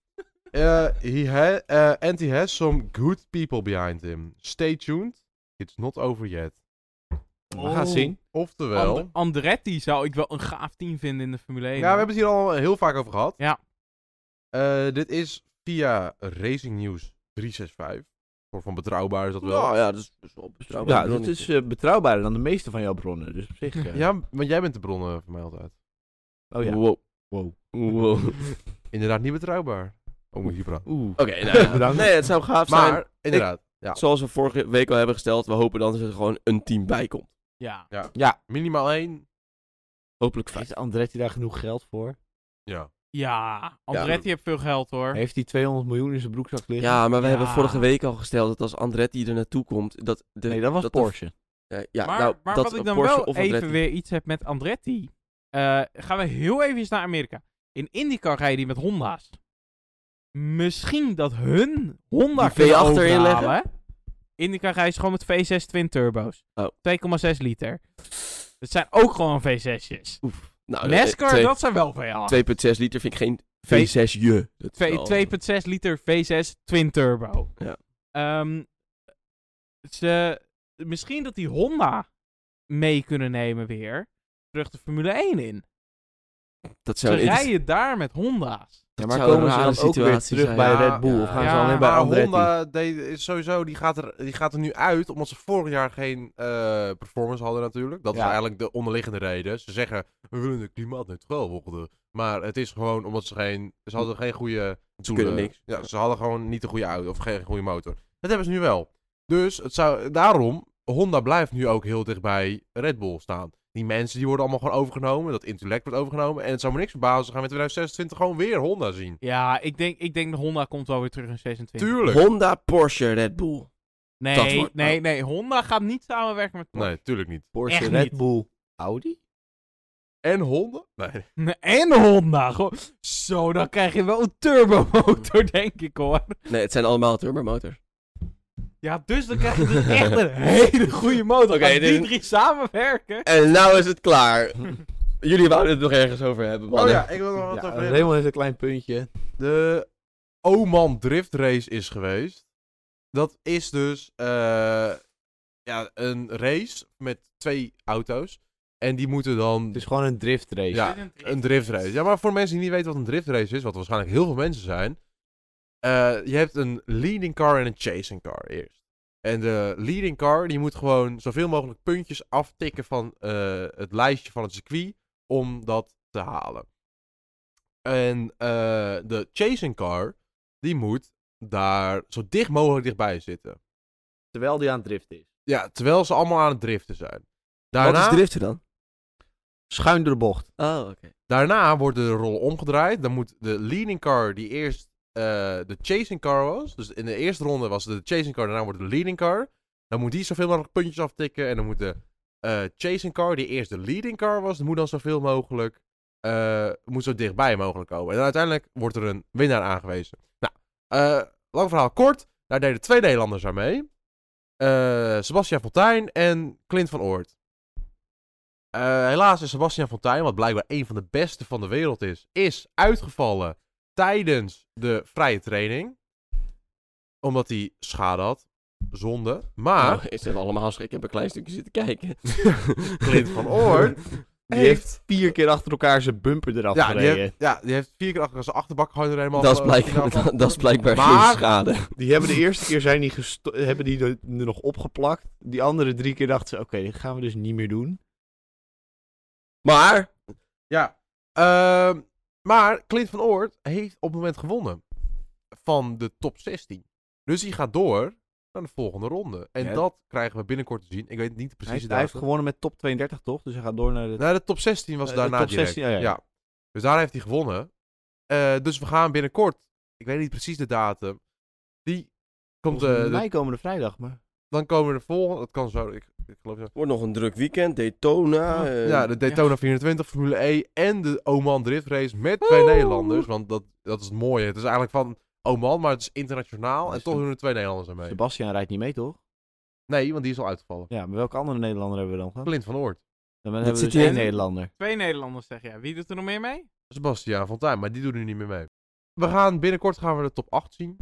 Eh, he ha- eh, and he has some good people behind him. Stay tuned. It's not over yet.
We gaan het zien.
Oftewel.
And- Andretti zou ik wel een gaaf team vinden in de Formule 1.
Ja, we hebben het hier al heel vaak over gehad.
Ja.
Eh, dit is via Racing News 365. Voor van betrouwbaar is dat wel.
Oh,
Nou ja, dat is, dat is wel betrouwbaar.
Ja, dat is eh, betrouwbaarder dan de meeste van jouw bronnen. Dus op zich. eh,
Ja, want jij bent de bron eh, van mij altijd.
Oh ja.
eh, Wow.
Wow.
Wow.
Inderdaad, niet betrouwbaar. Oh, moet je praten.
Oeh.
Oké, nou ja.
Bedankt.
Nee, het zou gaaf zijn.
Maar, inderdaad. Ja,
Zoals we vorige week al hebben gesteld, we hopen dan dat er gewoon een team bij komt.
Ja.
minimaal één.
Hopelijk vijf.
Heeft Andretti daar genoeg geld voor?
Ja.
Ja, Andretti heeft veel geld hoor.
Heeft hij 200 miljoen in zijn broekzak liggen?
Ja, maar we
Ja.
hebben vorige week al gesteld dat als Andretti er naartoe komt, dat de...
Nee, dat was
de-
Porsche.
eh, ja,
maar
nou,
maar
dat
wat ik dan
Porsche
wel
of
even
Andretti.
weer iets heb met Andretti. eh, gaan we heel even naar Amerika. In IndyCar rijden die met Honda's. Misschien dat hun Honda
Die
kunnen
V8 erin
overhalen,
leggen?
hè? IndyCar rijdt gewoon met V6 twin turbo's.
Oh.
2,6 liter.
Dus,
Dat zijn ook gewoon V6'jes.
Nou, eh,
NASCAR,
twee-
dat zijn wel V8.
2,6 liter vind ik geen V6-je. Dat is wel-
Twee- 2,6 liter V6 twin turbo.
Ja.
Ehm, ze, misschien dat die Honda mee kunnen nemen weer. Terug de Formule 1 in.
Dat
Ze
zou een
rijden daar met Honda's.
Ja,
dat
maar
zou een
komen ze
rare
dan ook weer
situatie
terug
zijn.
bij
Ja,
Red Bull? Of gaan
ja.
ze alleen bij
maar
Andretti?
Honda deed, is sowieso, die gaat, er, die gaat er nu uit, omdat ze vorig jaar geen eh, performance hadden natuurlijk. Dat is
Ja.
eigenlijk de onderliggende reden. Ze zeggen, we willen het klimaatneutraal worden. Maar het is gewoon omdat ze geen, ze hadden geen goede doelen.
kunnen niks.
Ja, ze hadden gewoon niet de goede auto of geen goede motor. Dat hebben ze nu wel. Dus het zou, daarom, Honda blijft nu ook heel dicht bij Red Bull staan. Die mensen die worden allemaal gewoon overgenomen. Dat intellect wordt overgenomen. En het zou me niks verbazen. Ze gaan we in 2026 gewoon weer Honda zien.
Ja, ik denk, ik denk de Honda komt wel weer terug in 26.
Tuurlijk.
Honda, Porsche, Red Bull. dat
Nee,
wordt-
nee, nee. Honda gaat niet samenwerken met Porsche.
Nee, tuurlijk niet.
Porsche,
Echt
Red
niet.
Bull, Audi?
En honden? Oh Nee.
Nee, En Honda. Goh. Zo, dan krijg je wel een turbomotor, denk ik hoor.
Nee, het zijn allemaal turbomotors.
Ja, dus dan krijg je dus echt een hele goede motor.
Oké,
Gaan
dit
die
is-
drie samenwerken?
En nou is het klaar. Jullie wouden het nog ergens over hebben,
Oh
mannen.
ja, ik wil nog wat
Ja,
over hebben.
Raymond heeft een klein puntje.
De Oman Drift Race is geweest. Dat is dus eh, ja, een race met twee auto's. En die moeten dan...
Het is gewoon een driftrace.
Ja, een driftrace. Ja, maar voor mensen die niet weten wat een driftrace is, wat waarschijnlijk heel veel mensen zijn. eh, je hebt een leading car en een chasing car eerst. En de leading car, die moet gewoon zoveel mogelijk puntjes aftikken van eh, het lijstje van het circuit om dat te halen. En eh, de chasing car, die moet daar zo dicht mogelijk dichtbij zitten.
Terwijl die aan het driften is.
Ja, terwijl ze allemaal aan het driften zijn. Daarna...
Wat is driften dan?
Schuin door de bocht.
Oh, oké.
Daarna worden de rollen omgedraaid. Dan moet de leading car, die eerst eh, de chasing car was. Dus in de eerste ronde was de chasing car, daarna wordt de leading car. Dan moet die zoveel mogelijk puntjes aftikken. En dan moet de eh, chasing car, die eerst de leading car was, moet dan zoveel mogelijk. eh, moet zo dichtbij mogelijk komen. En dan uiteindelijk wordt er een winnaar aangewezen. Nou, eh, lang verhaal kort. Daar deden twee Nederlanders aan mee: Eh, Sebastian Fontijn en Clint van Oort. Eh, helaas is Sebastian Fontijn, wat blijkbaar een van de beste van de wereld is, is uitgevallen tijdens de vrije training. Omdat hij schade had. Zonde. Maar
Nou, is het allemaal schrik. Ik heb een klein stukje zitten kijken.
Clint van Oort
Die
heeft...
heeft vier keer achter elkaar zijn bumper eraf
Ja, die
gereden.
heeft, ja, die heeft vier keer achter zijn achterbak gewoon er helemaal...
Dat is,
eh,
blijkbaar,
vanaf-
dat, dat is blijkbaar
Maar-
geen schade.
Die hebben de eerste keer zijn die gesto- hebben die er er nog opgeplakt. Die andere drie keer dachten ze, oké, dit gaan we dus niet meer doen.
Maar,
Ja. Ehm, maar Clint van Oort heeft op het moment gewonnen. Van de top 16. Dus die gaat door naar de volgende ronde. En
Ja.
dat krijgen we binnenkort te zien. Ik weet niet de
Hij,
precieze
hij heeft
datum.
gewonnen met top 32 toch? Dus hij gaat door naar de...
Nou, de top 16 was
Eh, de
daarna
top
direct.
16, ja, ja.
Dus daar heeft hij gewonnen. Eh, dus we gaan binnenkort, ik weet niet precies de datum, die komt... eh,
Volgens
de-
mij komende vrijdag, maar...
dan komen de volgende, dat kan zo, ik, ik geloof zo.
wordt nog een druk weekend. Daytona. eh,
ja, de Daytona 24, Formule E en de Oman Drift Race met twee
Woe!
Nederlanders. Want dat, dat is het mooie. Het is eigenlijk van Oman, maar het is internationaal.
Dat
En
is
toch
een-
doen er twee Nederlanders aan mee.
Sebastian rijdt niet mee, toch?
Nee, want die is al uitgevallen.
Ja, maar welke andere Nederlander hebben we dan gehad?
Clint van Oort.
Dan hebben we
zit
dus één
in-
Nederlander.
Twee Nederlanders zeg jij. Wie doet er nog meer mee?
Sebastiaan Fontijn, maar die doet nu niet meer mee. We gaan binnenkort gaan we de top 8 zien.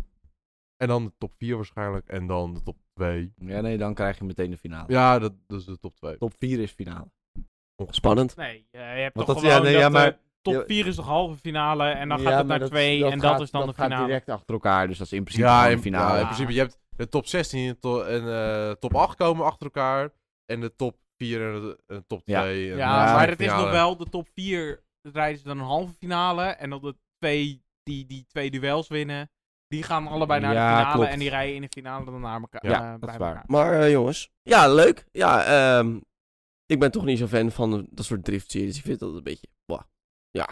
En dan de top 4 waarschijnlijk. En dan de top 2.
Ja, nee, dan krijg je meteen de finale.
Ja, dat, dat is de top 2.
Top 4 is finale.
Spannend.
Nee, eh, je hebt
Want
toch
dat-
gewoon
ja, nee,
dat
ja, maar-
de top
ja.
4 is de halve finale en dan
Ja,
gaat het
maar
naar 2 en dat
gaat-
is dan de
dat gaat
finale.
direct achter elkaar, dus dat is in principe
Ja,
gewoon
in,
de finale. Oh,
ja, in principe. Je hebt de top 16 en, to- en eh, top 8 komen achter elkaar. En de top 4 en de en top
Ja.
2. en
Ja,
de
maar
finale.
het is nog wel de top 4 rijden ze dan een halve finale. En dan de twee die, die twee duels winnen, die gaan allebei naar
Ja,
de finale.
klopt.
En die rijden in de finale dan naar elkaar.
Ja,
eh,
dat
bij
is waar.
elkaar.
Maar eh, jongens, ja, leuk. Ja, ehm, ik ben toch niet zo'n fan van dat soort driftseries. Ik vind dat een beetje, bah, ja,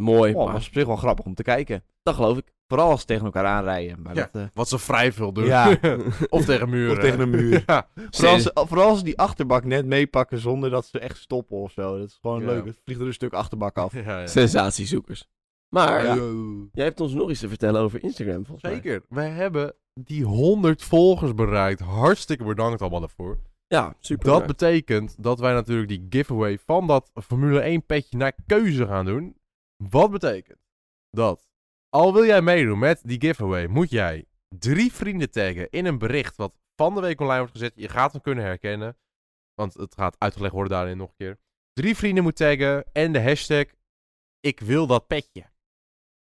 mooi.
Oh, maar
maar
is op zich wel grappig om te kijken.
dat geloof ik.
Vooral als ze tegen elkaar aanrijden. Maar
Ja.
dat, eh,
Wat ze vrij veel doen.
Ja.
of tegen muren.
Of tegen een muur.
ja.
Vooral als, vooral als ze die achterbak net meepakken zonder dat ze echt stoppen of zo. Dat is gewoon
Ja.
leuk. Het vliegt er een stuk achterbak af.
Ja, ja.
Sensatiezoekers. Maar
Ja.
jij hebt ons nog iets te vertellen over Instagram, volgens mij.
Zeker. Wij hebben die 100 volgers bereikt. Hartstikke bedankt allemaal daarvoor.
Ja, super.
Dat
bedankt.
betekent dat wij natuurlijk die giveaway van dat Formule 1 petje naar keuze gaan doen. Wat betekent dat? Al wil jij meedoen met die giveaway, moet jij drie vrienden taggen in een bericht wat van de week online wordt gezet. Je gaat hem kunnen herkennen, want het gaat uitgelegd worden daarin nog een keer. Drie vrienden moet taggen en de hashtag ik wil dat petje.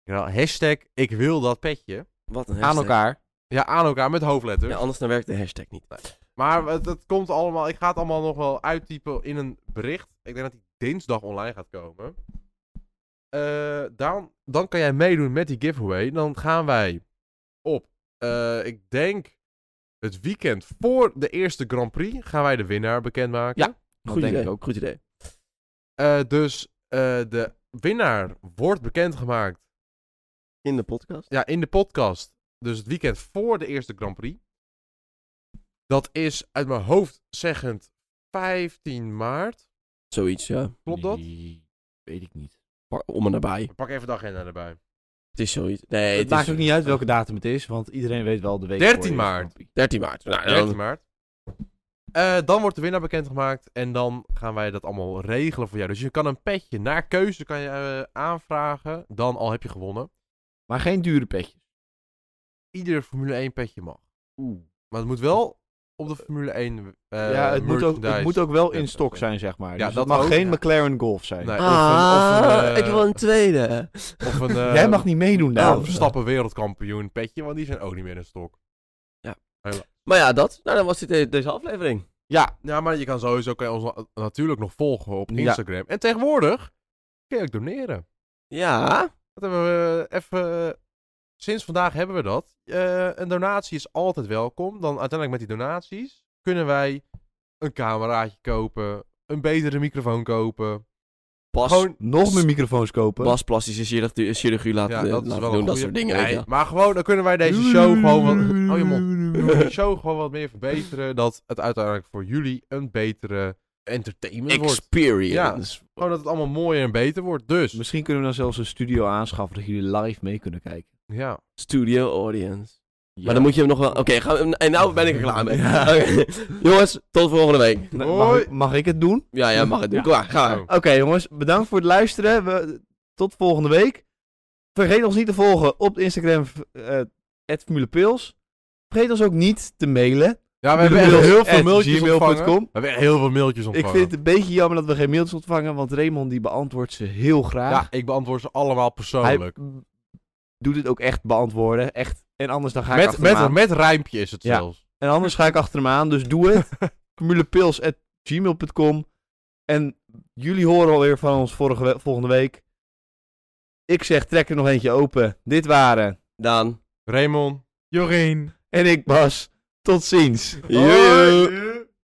Ja, hashtag ik wil dat petje.
Wat een
aan
hashtag.
elkaar.
Ja, aan elkaar met hoofdletters.
Ja, anders dan werkt de hashtag niet.
Maar het, het komt allemaal. Ik ga het allemaal nog wel uittypen in een bericht. Ik denk dat die dinsdag online gaat komen. Eh, dan, dan kan jij meedoen met die giveaway. Dan gaan wij op. eh, ik denk het weekend voor de eerste Grand Prix gaan wij de winnaar bekendmaken.
Ja.
Dat
Goed
denk
idee.
ik ook.
Goed idee.
Eh, dus eh, de winnaar wordt bekendgemaakt
In de podcast.
ja, in de podcast. Dus het weekend voor de eerste Grand Prix. Dat is uit mijn hoofd zeggend 15 maart.
Zoiets, ja.
Klopt dat?
Nee, weet ik niet.
Pa- Om en nabij.
Ik pak even de agenda erbij.
Het is zoiets. Nee,
het
het
maakt
is
ook niet uit welke datum het is, want iedereen weet wel de week.
13
voor je
maart.
Grand Prix.
13 maart. Nou, dan-
13 maart. Eh, dan wordt de winnaar bekendgemaakt en dan gaan wij dat allemaal regelen voor jou. Dus je kan een petje naar keuze kan je, eh, aanvragen, dan al heb je gewonnen.
Maar geen dure petjes.
Ieder Formule 1 petje mag.
Oeh.
Maar het moet wel op de Formule 1 eh,
ja, het moet, ook, het
merchandise.
moet ook wel in
Ja,
stok
ja.
zijn, zeg maar.
Ja,
dus
dat
het mag
ook,
geen
ja.
McLaren Golf zijn.
Nee, of een-
Ah,
of een, eh,
ik wil een tweede.
Of een, eh,
Jij mag niet meedoen daar.
Oh,
Verstappen wereldkampioen petje, want die zijn ook niet meer in stok.
Maar ja, dat. Nou, dan was dit de- deze aflevering.
Ja. Ja, maar je kan sowieso kan je ons na- natuurlijk nog volgen op
Ja.
Instagram. En tegenwoordig kun je ook doneren.
Ja.
Dat hebben we eh, even... eh, Sinds vandaag hebben we dat. Eh, een donatie is altijd welkom. Dan uiteindelijk met die donaties kunnen wij een cameraatje kopen, een betere microfoon kopen.
Pas,
Gewoon,
Nog meer microfoons kopen.
pas plastische chirurgie, chirurgie laten, eh,
ja, dat is
laten
wel
doen.
een
Dat
goeie-
soort dingen. weet
Nee,
je wel.
Maar gewoon, dan kunnen wij deze show gewoon wat... Oh, je mond. de show gewoon wat meer verbeteren. Dat het uiteindelijk voor jullie een betere entertainment wordt.
Experience.
Gewoon dat het allemaal mooier en beter wordt. Dus,
Misschien kunnen we dan zelfs een studio aanschaffen dat jullie live mee kunnen kijken.
ja.
Studio audience.
Ja.
Maar dan moet je hem nog wel... Oké, gaan we- en nou ben ik er klaar mee. Oké. Jongens, tot volgende week.
Nee, Mag,
Hoi.
ik, mag ik het doen?
Ja, ja, mag het doen.
Ja.
Kom maar, ga maar.
Oh.
Oké, jongens, bedankt voor het luisteren. We, tot volgende week. Vergeet ons niet te volgen op Instagram, eh @formulepils. Vergeet ons ook niet te mailen.
Ja, we hebben echt
Pils
heel veel
at
mailtjes
gmail.com.
ontvangen. We hebben echt heel veel mailtjes
Ik
ontvangen.
vind het een beetje jammer dat we geen mailtjes ontvangen, want Raymond die beantwoordt ze heel graag.
Ja, ik beantwoord ze allemaal
Hij
persoonlijk.
mm, doet het ook echt beantwoorden. Echt. En anders dan ga ik
Met,
achter hem
met,
aan.
met rijmpje is het
Ja.
zelfs.
En anders ga ik achter hem aan, dus doe het. formulepils.gmail.com En jullie horen alweer van ons vorige we- volgende week. Ik zeg, trek er nog eentje open. Dit waren...
Daan.
Raymond.
Joreen.
En ik Bas. Tot ziens.
Joejoe.
Hoi.